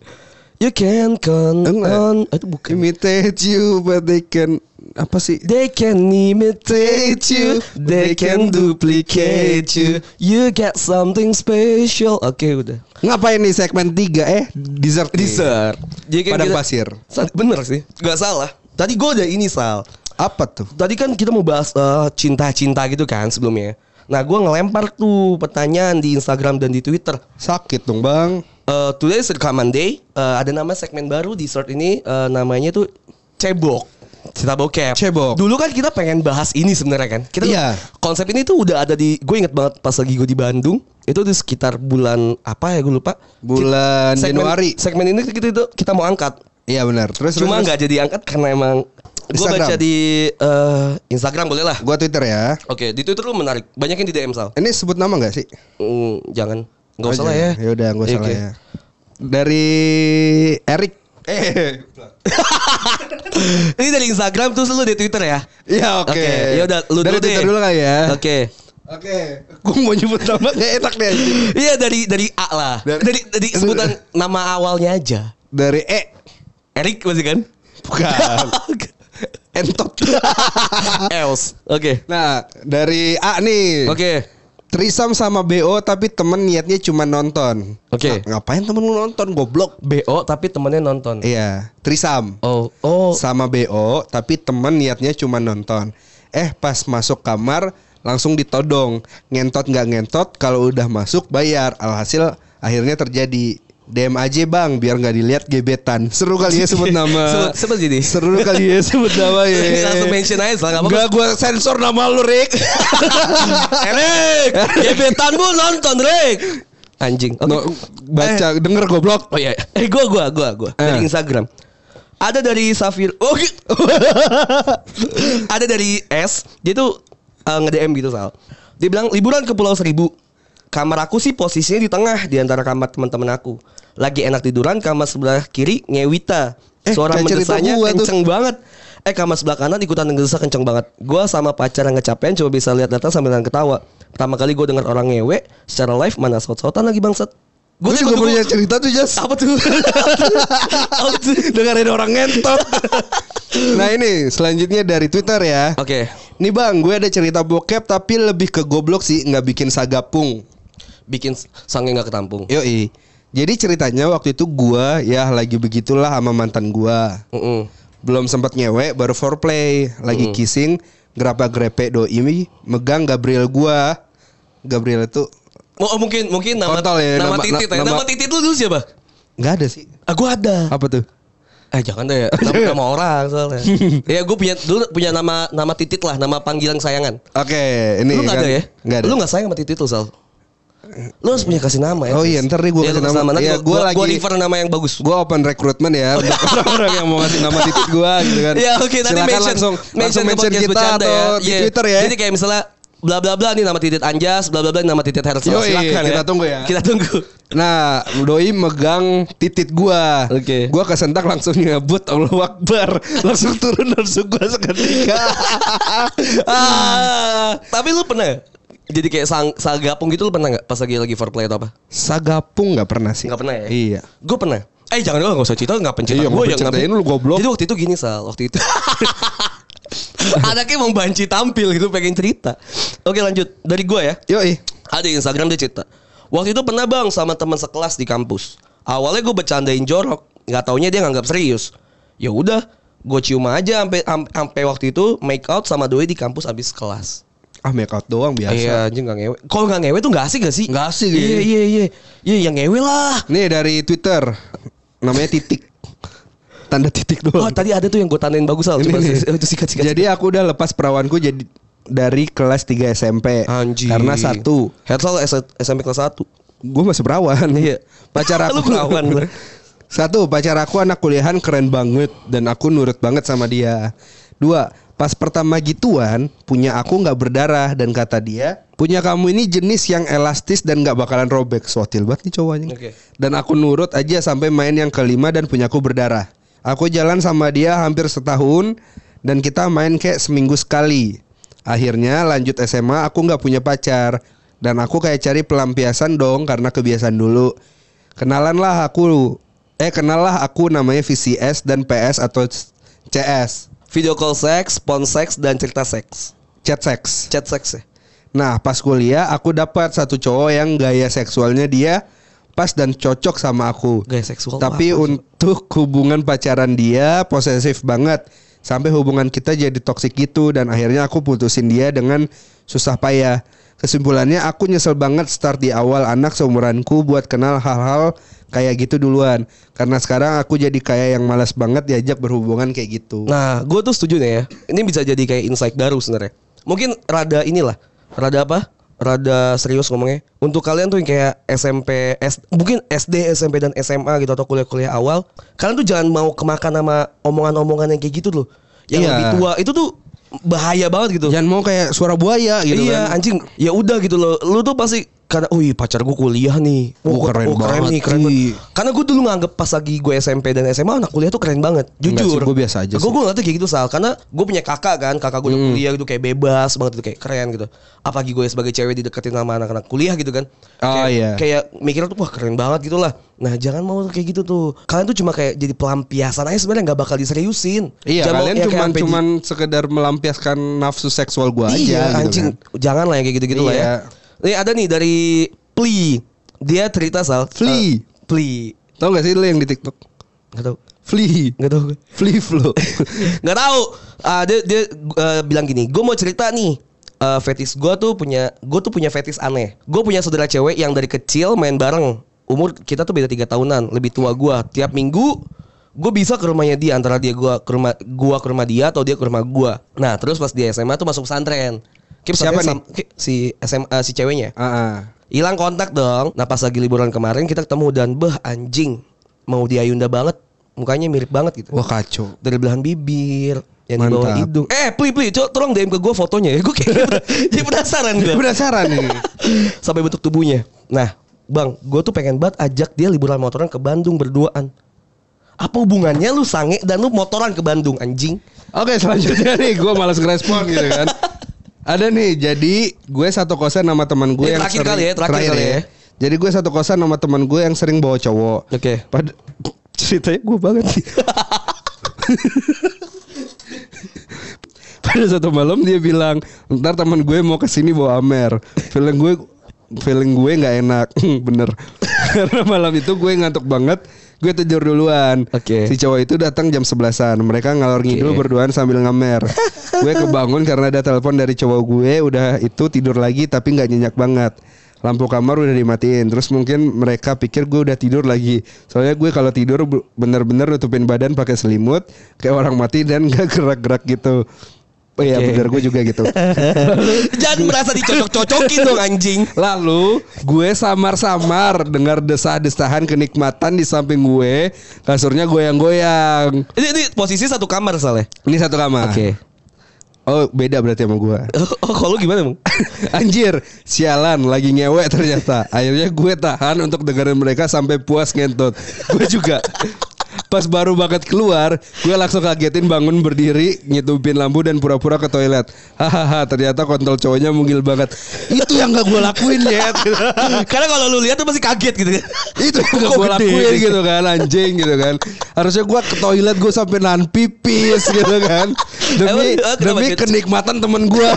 S2: you can count
S3: Enggak.
S2: on itu bukan
S3: Imitate you but they can apa sih?
S2: They can imitate you, they can duplicate you. You get something special. Oke udah.
S3: Ngapain nih segmen 3 eh dessert. nih.
S2: Dessert. Jadi kan
S3: Padang
S2: kita-
S3: pasir.
S2: Sa- Bener sih, nggak salah. Tadi gue ada ini sal.
S3: Apa tuh?
S2: Tadi kan kita mau bahas eh, cinta-cinta gitu kan sebelumnya. Nah gue ngelempar tuh pertanyaan di Instagram dan di Twitter.
S3: Sakit dong, Bang.
S2: Eh, today is rekaman day. Eh, ada nama segmen baru di short ini eh, namanya tuh cebok. Cerita bokep.
S3: Cebok.
S2: Dulu kan kita pengen bahas ini sebenarnya kan. Kita
S3: Iya.
S2: konsep ini tuh udah ada di gue inget banget pas lagi gue di Bandung. Itu di sekitar bulan apa ya gue lupa.
S3: Bulan
S2: Ki- segmen-
S3: Januari.
S2: Segmen ini kita itu kita mau angkat.
S3: Iya benar. Terus
S2: Cuma
S3: terus,
S2: nggak jadi angkat karena emang gue
S3: Instagram.
S2: baca di eh, Instagram boleh lah.
S3: terus. Gua Twitter ya.
S2: Oke, di Twitter lu menarik. Banyak yang di DM Sal.
S3: Ini sebut nama gak sih?
S2: Hmm, jangan. Gak
S3: Oh,
S2: usah lah ya.
S3: jangan. Ya udah, gak usah
S2: Oke.
S3: lah ya. Dari Erik. Eh.
S2: Ini dari Instagram terus lu di Twitter ya?
S3: Iya, oke.
S2: Oke, ya udah lu
S3: dari
S2: dulu deh.
S3: Twitter dulu kali ya.
S2: Oke.
S3: Oke. Gua mau nyebut nama gak enak deh anjing.
S2: Iya dari dari A lah. Dari
S3: Dari-
S2: dari, sebutan nama awalnya aja.
S3: Dari E.
S2: Erik masih kan?
S3: Bukan.
S2: Ah.
S3: Entot.
S2: Els. Ah. Oke.
S3: nah, dari A nih.
S2: Oke.
S3: Trisam sama BO tapi temen niatnya cuma nonton.
S2: Oke.
S3: Nah, ngapain temen lu nonton goblok?
S2: BO tapi temennya nonton.
S3: Iya, Trisam
S2: Oh, oh.
S3: sama BO tapi temen niatnya cuma nonton. Eh pas masuk kamar langsung ditodong. Ngentot nggak ngentot kalau udah masuk bayar. Alhasil akhirnya terjadi DM aja bang biar nggak dilihat gebetan. Seru kali ya sebut nama.
S2: Sebut- sebut jadi.
S3: Seru kali ya sebut nama ya.
S2: Langsung mention aja salah apa-apa.
S3: Gak gue sensor nama lu Rick.
S2: Erik, gebetanmu nonton, Erik. Anjing. Oke.
S3: No, baca denger goblok. iya.
S2: Oh iya. Eh gua gua gua gua dari
S3: Eh.
S2: Instagram. Ada dari Safir. Oke. ada dari S. Dia tuh eh, nge-DM gitu, Sal. Dia bilang liburan ke Pulau Seribu. Kamar aku sih posisinya di tengah di antara kamar teman-teman aku. Lagi enak tiduran kamar sebelah kiri ngewita.
S3: Eh,
S2: Suara
S3: kayak cerita
S2: mendesanya
S3: gua tuh.
S2: kenceng banget. Eh kamar sebelah kanan ikutan ngedesa kenceng banget. Gua sama pacar yang kecapean cuma bisa lihat data sambil ketawa. Pertama kali gue dengar orang ngewe secara live mana sot-sotan lagi bangsat.
S3: Gue
S2: tuh
S3: juga punya cerita tuh Jas
S2: apa tuh? Apa tuh?
S3: Dengerin orang ngentot Nah ini selanjutnya dari Twitter ya
S2: Oke.
S3: Nih bang gue ada cerita bokep tapi lebih ke goblok sih nggak bikin sagapung
S2: Bikin sange nggak ketampung.
S3: Yoi Jadi ceritanya waktu itu gue ya lagi begitulah sama mantan gue
S2: Mm-mm.
S3: belum sempat nyewe baru foreplay
S2: Hmm.
S3: lagi kissing gerapa grepe doi megang Gabriel gua Gabriel itu
S2: Oh, oh, mungkin mungkin nama
S3: Kontol ya,
S2: nama,
S3: nama-
S2: titit ya.
S3: nama-
S2: Nama titit lu dulu siapa?
S3: nggak ada sih
S2: Ah, gua ada.
S3: apa tuh
S2: Eh jangan deh, nama, nama orang soalnya. ya gue punya dulu punya nama nama titit lah, nama panggilan sayangan.
S3: oke ini
S2: lu nggak
S3: kan-
S2: ada ya?
S3: nggak ada
S2: Lu nggak sayang sama titit lu Sal? Lu harus punya kasih nama ya.
S3: Oh iya, ntar deh gua
S2: Iya, lu
S3: kasih
S2: kasih
S3: nama.
S2: Nanti
S3: Iya,
S2: gua,
S3: gua
S2: gua, gua
S3: lagi-
S2: refer nama yang bagus.
S3: gua open recruitment ya untuk orang-orang yang mau ngasih nama titik gua gitu kan
S2: Oh, Iya oke nanti
S3: Silakan
S2: mention
S3: langsung langsung
S2: ke
S3: mention
S2: podcast
S3: kita
S2: bercanda
S3: atau di
S2: Iya.
S3: Twitter ya
S2: Jadi kayak misalnya bla bla bla nih nama titit Anjas, bla bla bla nih nama titit Hersal.
S3: Yoi,
S2: Silakan
S3: kita tunggu ya.
S2: Kita tunggu.
S3: Nah, doi megang titit gua.
S2: Oke.
S3: Gua kesentak langsung nyebut Allahu Akbar. Langsung turun nafsu gua seketika.
S2: Ah, tapi lu pernah nggak? jadi kayak sang, sagapung gitu lu pernah nggak pas lagi lagi foreplay atau apa?
S3: Sagapung nggak pernah sih.
S2: Nggak pernah ya?
S3: Iya.
S2: Gue pernah. Eh jangan dong nggak usah cerita nggak pencerita
S3: Iya,
S2: Gua
S3: nggak penceritain, lu goblok.
S2: Jadi waktu itu gini Sal, waktu itu. Anaknya membanci tampil gitu pengen cerita. Oke lanjut dari gua ya.
S3: Yoi.
S2: Ada di Instagram dia cerita. Waktu itu pernah bang sama teman sekelas di kampus. Awalnya gue bercandain jorok, nggak taunya dia nganggap serius. Ya udah, gue cium aja sampai am- sampai waktu itu make out sama doi di kampus abis kelas.
S3: Ah make out doang biasa.
S2: Iya, anjing nggak ngewe. Kalau nggak ngewe tuh nggak asik gak sih?
S3: Nggak asik,
S2: Iya
S3: iya.
S2: iya iya. Iya yang ngewe lah.
S3: Nih dari Twitter. Namanya titik. Tanda titik
S2: Oh
S3: doang.
S2: tadi ada tuh yang gue tandain bagus Al.
S3: Ini
S2: Coba
S3: nih.
S2: sih- itu sikat sikat.
S3: Jadi aku udah lepas perawanku jadi dari kelas 3 SMP. Karena satu,
S2: Hersal S- SMP kelas 1
S3: gue masih perawan.
S2: Iya.
S3: Pacar
S2: Lu
S3: aku
S2: perawan, lu.
S3: Satu, pacar aku anak kuliahan keren banget dan aku nurut banget sama dia. Dua, pas pertama gituan punya aku nggak berdarah dan kata dia punya kamu ini jenis yang elastis dan nggak bakalan robek. Sotil banget nih cowoknya.
S2: Oke.
S3: Dan aku nurut aja sampai main yang kelima dan punya aku berdarah. Aku jalan sama dia hampir setahun dan kita main kayak seminggu sekali. Akhirnya lanjut SMA aku nggak punya pacar dan aku kayak cari pelampiasan dong karena kebiasaan dulu. Kenalanlah aku eh kenalah aku namanya VCS dan PS atau CS,
S2: Video call seks, pon seks dan cerita seks.
S3: chat sex.
S2: Chat seks ya.
S3: Nah, pas kuliah aku dapat satu cowok yang gaya seksualnya dia pas dan cocok sama aku.
S2: Gaya seksual.
S3: Tapi
S2: apa?
S3: untuk hubungan pacaran dia posesif banget sampai hubungan kita jadi toksik gitu dan akhirnya aku putusin dia dengan susah payah. Kesimpulannya aku nyesel banget start di awal anak seumuranku buat kenal hal-hal kayak gitu duluan karena sekarang aku jadi kayak yang malas banget diajak berhubungan kayak gitu.
S2: Nah, gue tuh setuju nih ya. Ini bisa jadi kayak insight baru sebenarnya. Mungkin rada inilah, rada apa? Rada serius ngomongnya. Untuk kalian tuh yang kayak SMP, S, mungkin SD, SMP dan SMA gitu atau kuliah-kuliah awal, kalian tuh jangan mau kemakan sama omongan-omongan yang kayak gitu loh. Yang
S3: Iya.
S2: lebih tua itu tuh bahaya banget gitu.
S3: Jangan mau kayak suara buaya gitu
S2: iya,
S3: kan.
S2: anjing. Ya udah gitu loh. Lu tuh pasti karena, wih pacar gue kuliah nih.
S3: Oh,
S2: gua-
S3: keren
S2: nih,
S3: banget
S2: keren
S3: nih."
S2: banget. Iya. Karena gue dulu nganggep pas lagi gue SMP dan SMA anak kuliah tuh keren banget. Jujur.
S3: Enggak sih, gua biasa aja
S2: Gue
S3: sih. Hmm.
S2: gue nggak tuh kayak gitu Sal. Karena gue punya kakak kan, kakak gue udah kuliah gitu kayak bebas banget gitu kayak keren gitu. Apalagi gue sebagai cewek dideketin sama anak-anak kuliah gitu kan.
S3: Oh,
S2: kayak,
S3: iya.
S2: Kayak mikirnya tuh wah keren banget gitu lah. Nah jangan mau tuh kayak gitu tuh. Kalian tuh cuma kayak jadi pelampiasan aja sebenarnya nggak bakal diseriusin. Jangan
S3: Iya,
S2: mau
S3: kalian
S2: yang kayak
S3: cuman
S2: sampai di-
S3: cuman sekedar melampiaskan nafsu seksual gua aja
S2: iya,
S3: gitu
S2: anjing.
S3: kan.
S2: Jangan lah yang kayak gitu-gitu lah ya.
S3: Iya.
S2: Ini ada nih dari Pli. Dia cerita Sal.
S3: Fli.
S2: Eh, Pli.
S3: Tau gak sih lu yang di TikTok?
S2: Gak tau.
S3: Fli.
S2: Gak tau.
S3: Fli flow.
S2: Gak tau. Ah, dia dia eh, bilang gini. Gue mau cerita nih. Eh, fetis gue tuh punya gue tuh punya fetis aneh gue punya saudara cewek yang dari kecil main bareng umur kita tuh beda tiga tahunan lebih tua gue tiap minggu gue bisa ke rumahnya dia antara dia gue ke rumah gua ke rumah dia atau dia ke rumah gue nah terus pas dia SMA tuh masuk pesantren Kayak
S3: Siapa
S2: pesantren sam- kayak si SMA eh, si ceweknya
S3: Ah, ah.
S2: Hilang kontak dong. Nah pas lagi liburan kemarin kita ketemu dan beh anjing mau di Ayunda banget. mukanya mirip banget gitu
S3: Wah kacau.
S2: dari belahan bibir yang di
S3: Mantap.
S2: bawah hidung eh pli pli co- tolong DM ke gue fotonya ya gue kayak jadi penasaran gue
S3: Penasaran nih.
S2: sampai bentuk tubuhnya nah bang gue tuh pengen banget ajak dia liburan motoran ke Bandung berduaan apa hubungannya lu sange dan lu motoran ke Bandung anjing
S3: Oke selanjutnya nih gue malas ngerespon gitu kan. Ada nih jadi gue satu kosan sama teman gue
S2: Ini
S3: yang
S2: terakhir
S3: sering,
S2: kali ya, terakhir kali ya.
S3: Jadi gue satu kosan sama teman gue yang sering bawa cowok.
S2: Oke.
S3: Pad- ceritanya gue banget sih. Pada satu malam dia bilang, ntar teman gue mau kesini bawa Amer. Feeling gue, feeling gue nggak enak, bener. Karena malam itu gue ngantuk banget, gue tidur duluan.
S2: Oke.
S3: Si cowok itu datang jam sebelasan. Mereka ngalor ngidul
S2: Oke.
S3: berduaan sambil ngamer. gue kebangun karena ada telepon dari cowok gue. Udah itu tidur lagi tapi nggak nyenyak banget. Lampu kamar udah dimatiin. Terus mungkin mereka pikir gue udah tidur lagi. Soalnya gue kalau tidur bu- bener-bener nutupin badan pakai selimut kayak orang mati dan gak gerak-gerak gitu. Oh iya
S2: Oke.
S3: bener gue juga gitu.
S2: jangan merasa dicocok-cocokin dong anjing
S3: Lalu gue samar-samar dengar desah-desahan kenikmatan di samping gue. Kasurnya goyang-goyang.
S2: ini, ini posisi satu kamar soalnya
S3: Ini satu kamar. Oh beda berarti sama gue
S2: oh kalau lu gimana bang
S3: Anjir Sialan lagi ngewe ternyata Akhirnya gue tahan untuk dengerin mereka sampai puas ngentot Gue juga Pas baru banget keluar Gue langsung kagetin bangun berdiri Nyetupin lampu dan pura-pura ke toilet Hahaha ternyata kontol cowoknya mungil banget Itu yang gak gue lakuin ya
S2: Karena kalau lu lihat tuh pasti kaget gitu kan.
S3: itu yang
S2: Kok
S3: gue
S2: gede?
S3: lakuin gitu kan anjing gitu kan harusnya gue ke toilet gue sampai nahan pipis gitu kan demi
S2: Emang, eh, kenapa
S3: demi
S2: gitu?
S3: kenikmatan temen gue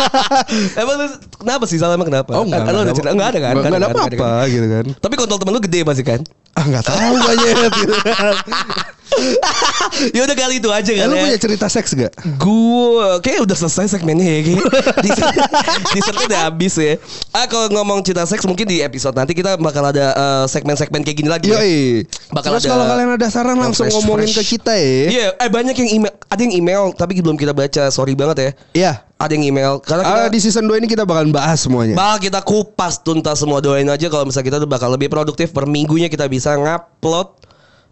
S2: Emang lu kenapa sih salah emang kenapa?
S3: Oh enggak,
S2: Kan lu ada cerita enggak ada kan?
S3: Enggak ada
S2: kan,
S3: apa-apa
S2: kan.
S3: gitu kan.
S2: Tapi kontol temen lu gede pasti kan?
S3: Ah enggak tahu banyak. gitu.
S2: ya udah kali itu aja
S3: Ah. Eh,
S2: kan
S3: lu
S2: ya.
S3: punya cerita seks gak?
S2: Gue kayak udah selesai segmennya ya kayak. Dessert- Dessertnya udah habis ya. Ah kalau ngomong cerita seks mungkin di episode nanti kita bakal ada eh, segmen-segmen kayak gini lagi. ya.
S3: Yoi.
S2: Bakal
S3: Terus
S2: ada-
S3: kalau kalian ada saran
S2: yang
S3: langsung
S2: fresh,
S3: ngomongin
S2: fresh.
S3: ke kita ya.
S2: Iya, eh banyak yang email, ada yang email tapi belum kita baca, sorry banget ya.
S3: Iya.
S2: Ada yang email karena kita,
S3: Ah, di season 2 ini kita bakalan bahas semuanya.
S2: Bakal kita kupas tuntas semua doain aja kalau misalnya kita tuh bakal lebih produktif per minggunya kita bisa ngupload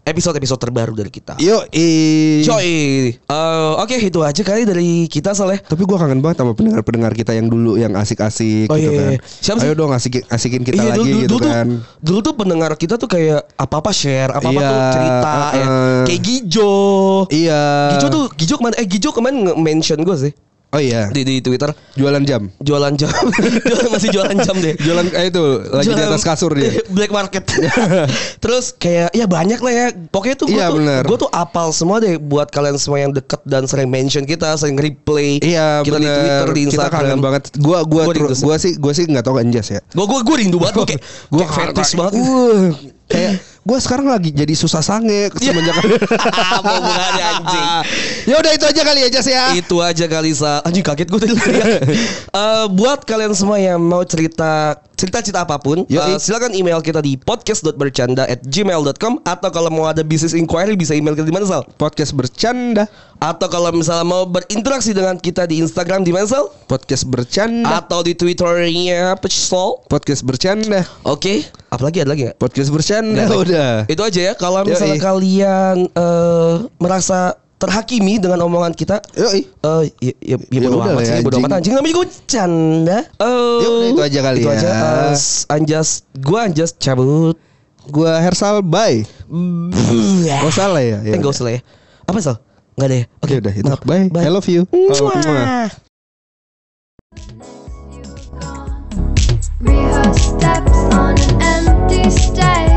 S2: episode-episode terbaru dari kita.
S3: Iya. Yoi.
S2: Coy. Eh, Oke, itu aja kali dari kita Saleh.
S3: Tapi gua kangen banget sama pendengar-pendengar kita yang dulu yang asik-asik
S2: Oh,
S3: gitu
S2: iya,
S3: kan.
S2: iya. Siapa sih?
S3: Ayo dong asik asikin kita
S2: Iya,
S3: lagi
S2: dulu,
S3: gitu
S2: dulu
S3: kan.
S2: Tuh, dulu tuh pendengar kita tuh kayak apa-apa share, apa-apa
S3: Iya,
S2: tuh cerita ya.
S3: uh-uh.
S2: Kayak Gijo.
S3: Iya.
S2: Gijo tuh Gijo kemarin eh Gijo kemarin nge-mention gue sih
S3: Oh iya.
S2: di, di Twitter
S3: Jualan jam.
S2: jualan jam. Jualan- masih jualan jam deh.
S3: Jualan eh itu lagi di
S2: Jualan-
S3: atas kasur dia.
S2: Black market. Terus kayak ya banyak lah ya. Pokoknya tuh gue
S3: Iya,
S2: tuh
S3: bener.
S2: gue tuh apal semua deh buat kalian semua yang deket dan sering mention kita, sering replay.
S3: Iya
S2: kita di
S3: bener.
S2: Twitter, di Instagram.
S3: Kita kangen banget Gua gua
S2: Gua rindu
S3: tru- gua sih gua sih nggak tau anjas ya
S2: Gue gue gue rindu banget gue kayak
S3: Gua
S2: gue fetish banget.
S3: Uh, kayak gue sekarang lagi jadi susah sange semenjak
S2: Iya. Apa hubungannya, anjing?
S3: ya udah itu aja kali ya Jas ya
S2: Itu aja kali sa. Anjing kaget gue tadi. teriak. Eh, buat kalian semua yang mau cerita cerita-cerita apapun, eh,
S3: Yoi.
S2: silakan email kita di podcast.bercanda@gmail.com atau kalau mau ada business inquiry bisa email kita di mana Sal?
S3: podcast bercanda
S2: Atau kalau misalnya mau berinteraksi dengan kita di Instagram di mana Sal?
S3: podcast bercanda
S2: Atau di Twitternya apa Sol?
S3: podcast bercanda
S2: Oke, apalagi ada lagi nggak?
S3: podcast bercanda
S2: Nggak ada.
S3: udah
S2: Itu aja ya. Kalau misalnya
S3: Yoi.
S2: kalian eh, merasa terhakimi dengan omongan kita,
S3: Yoi.
S2: Eh, ya, ya, ya,
S3: Ya
S2: bodo
S3: udah
S2: amat
S3: lah
S2: sih,
S3: ya,
S2: bodo amat
S3: anjing.
S2: anjing. Namanya juga canda. Eh,
S3: Ya udah, itu aja kali
S2: itu
S3: ya.
S2: aja. Eh, anjas, gua anjas cabut.
S3: gue Hersal bye Nggak salah ya?
S2: Eh,
S3: Ya
S2: nggak usah lah ya. Apa sal? Nggak ada ya. Oke,
S3: ya udah itu bye.
S2: Bye.
S3: I love you Oh, mwah.
S1: Rehearse steps on an empty stage.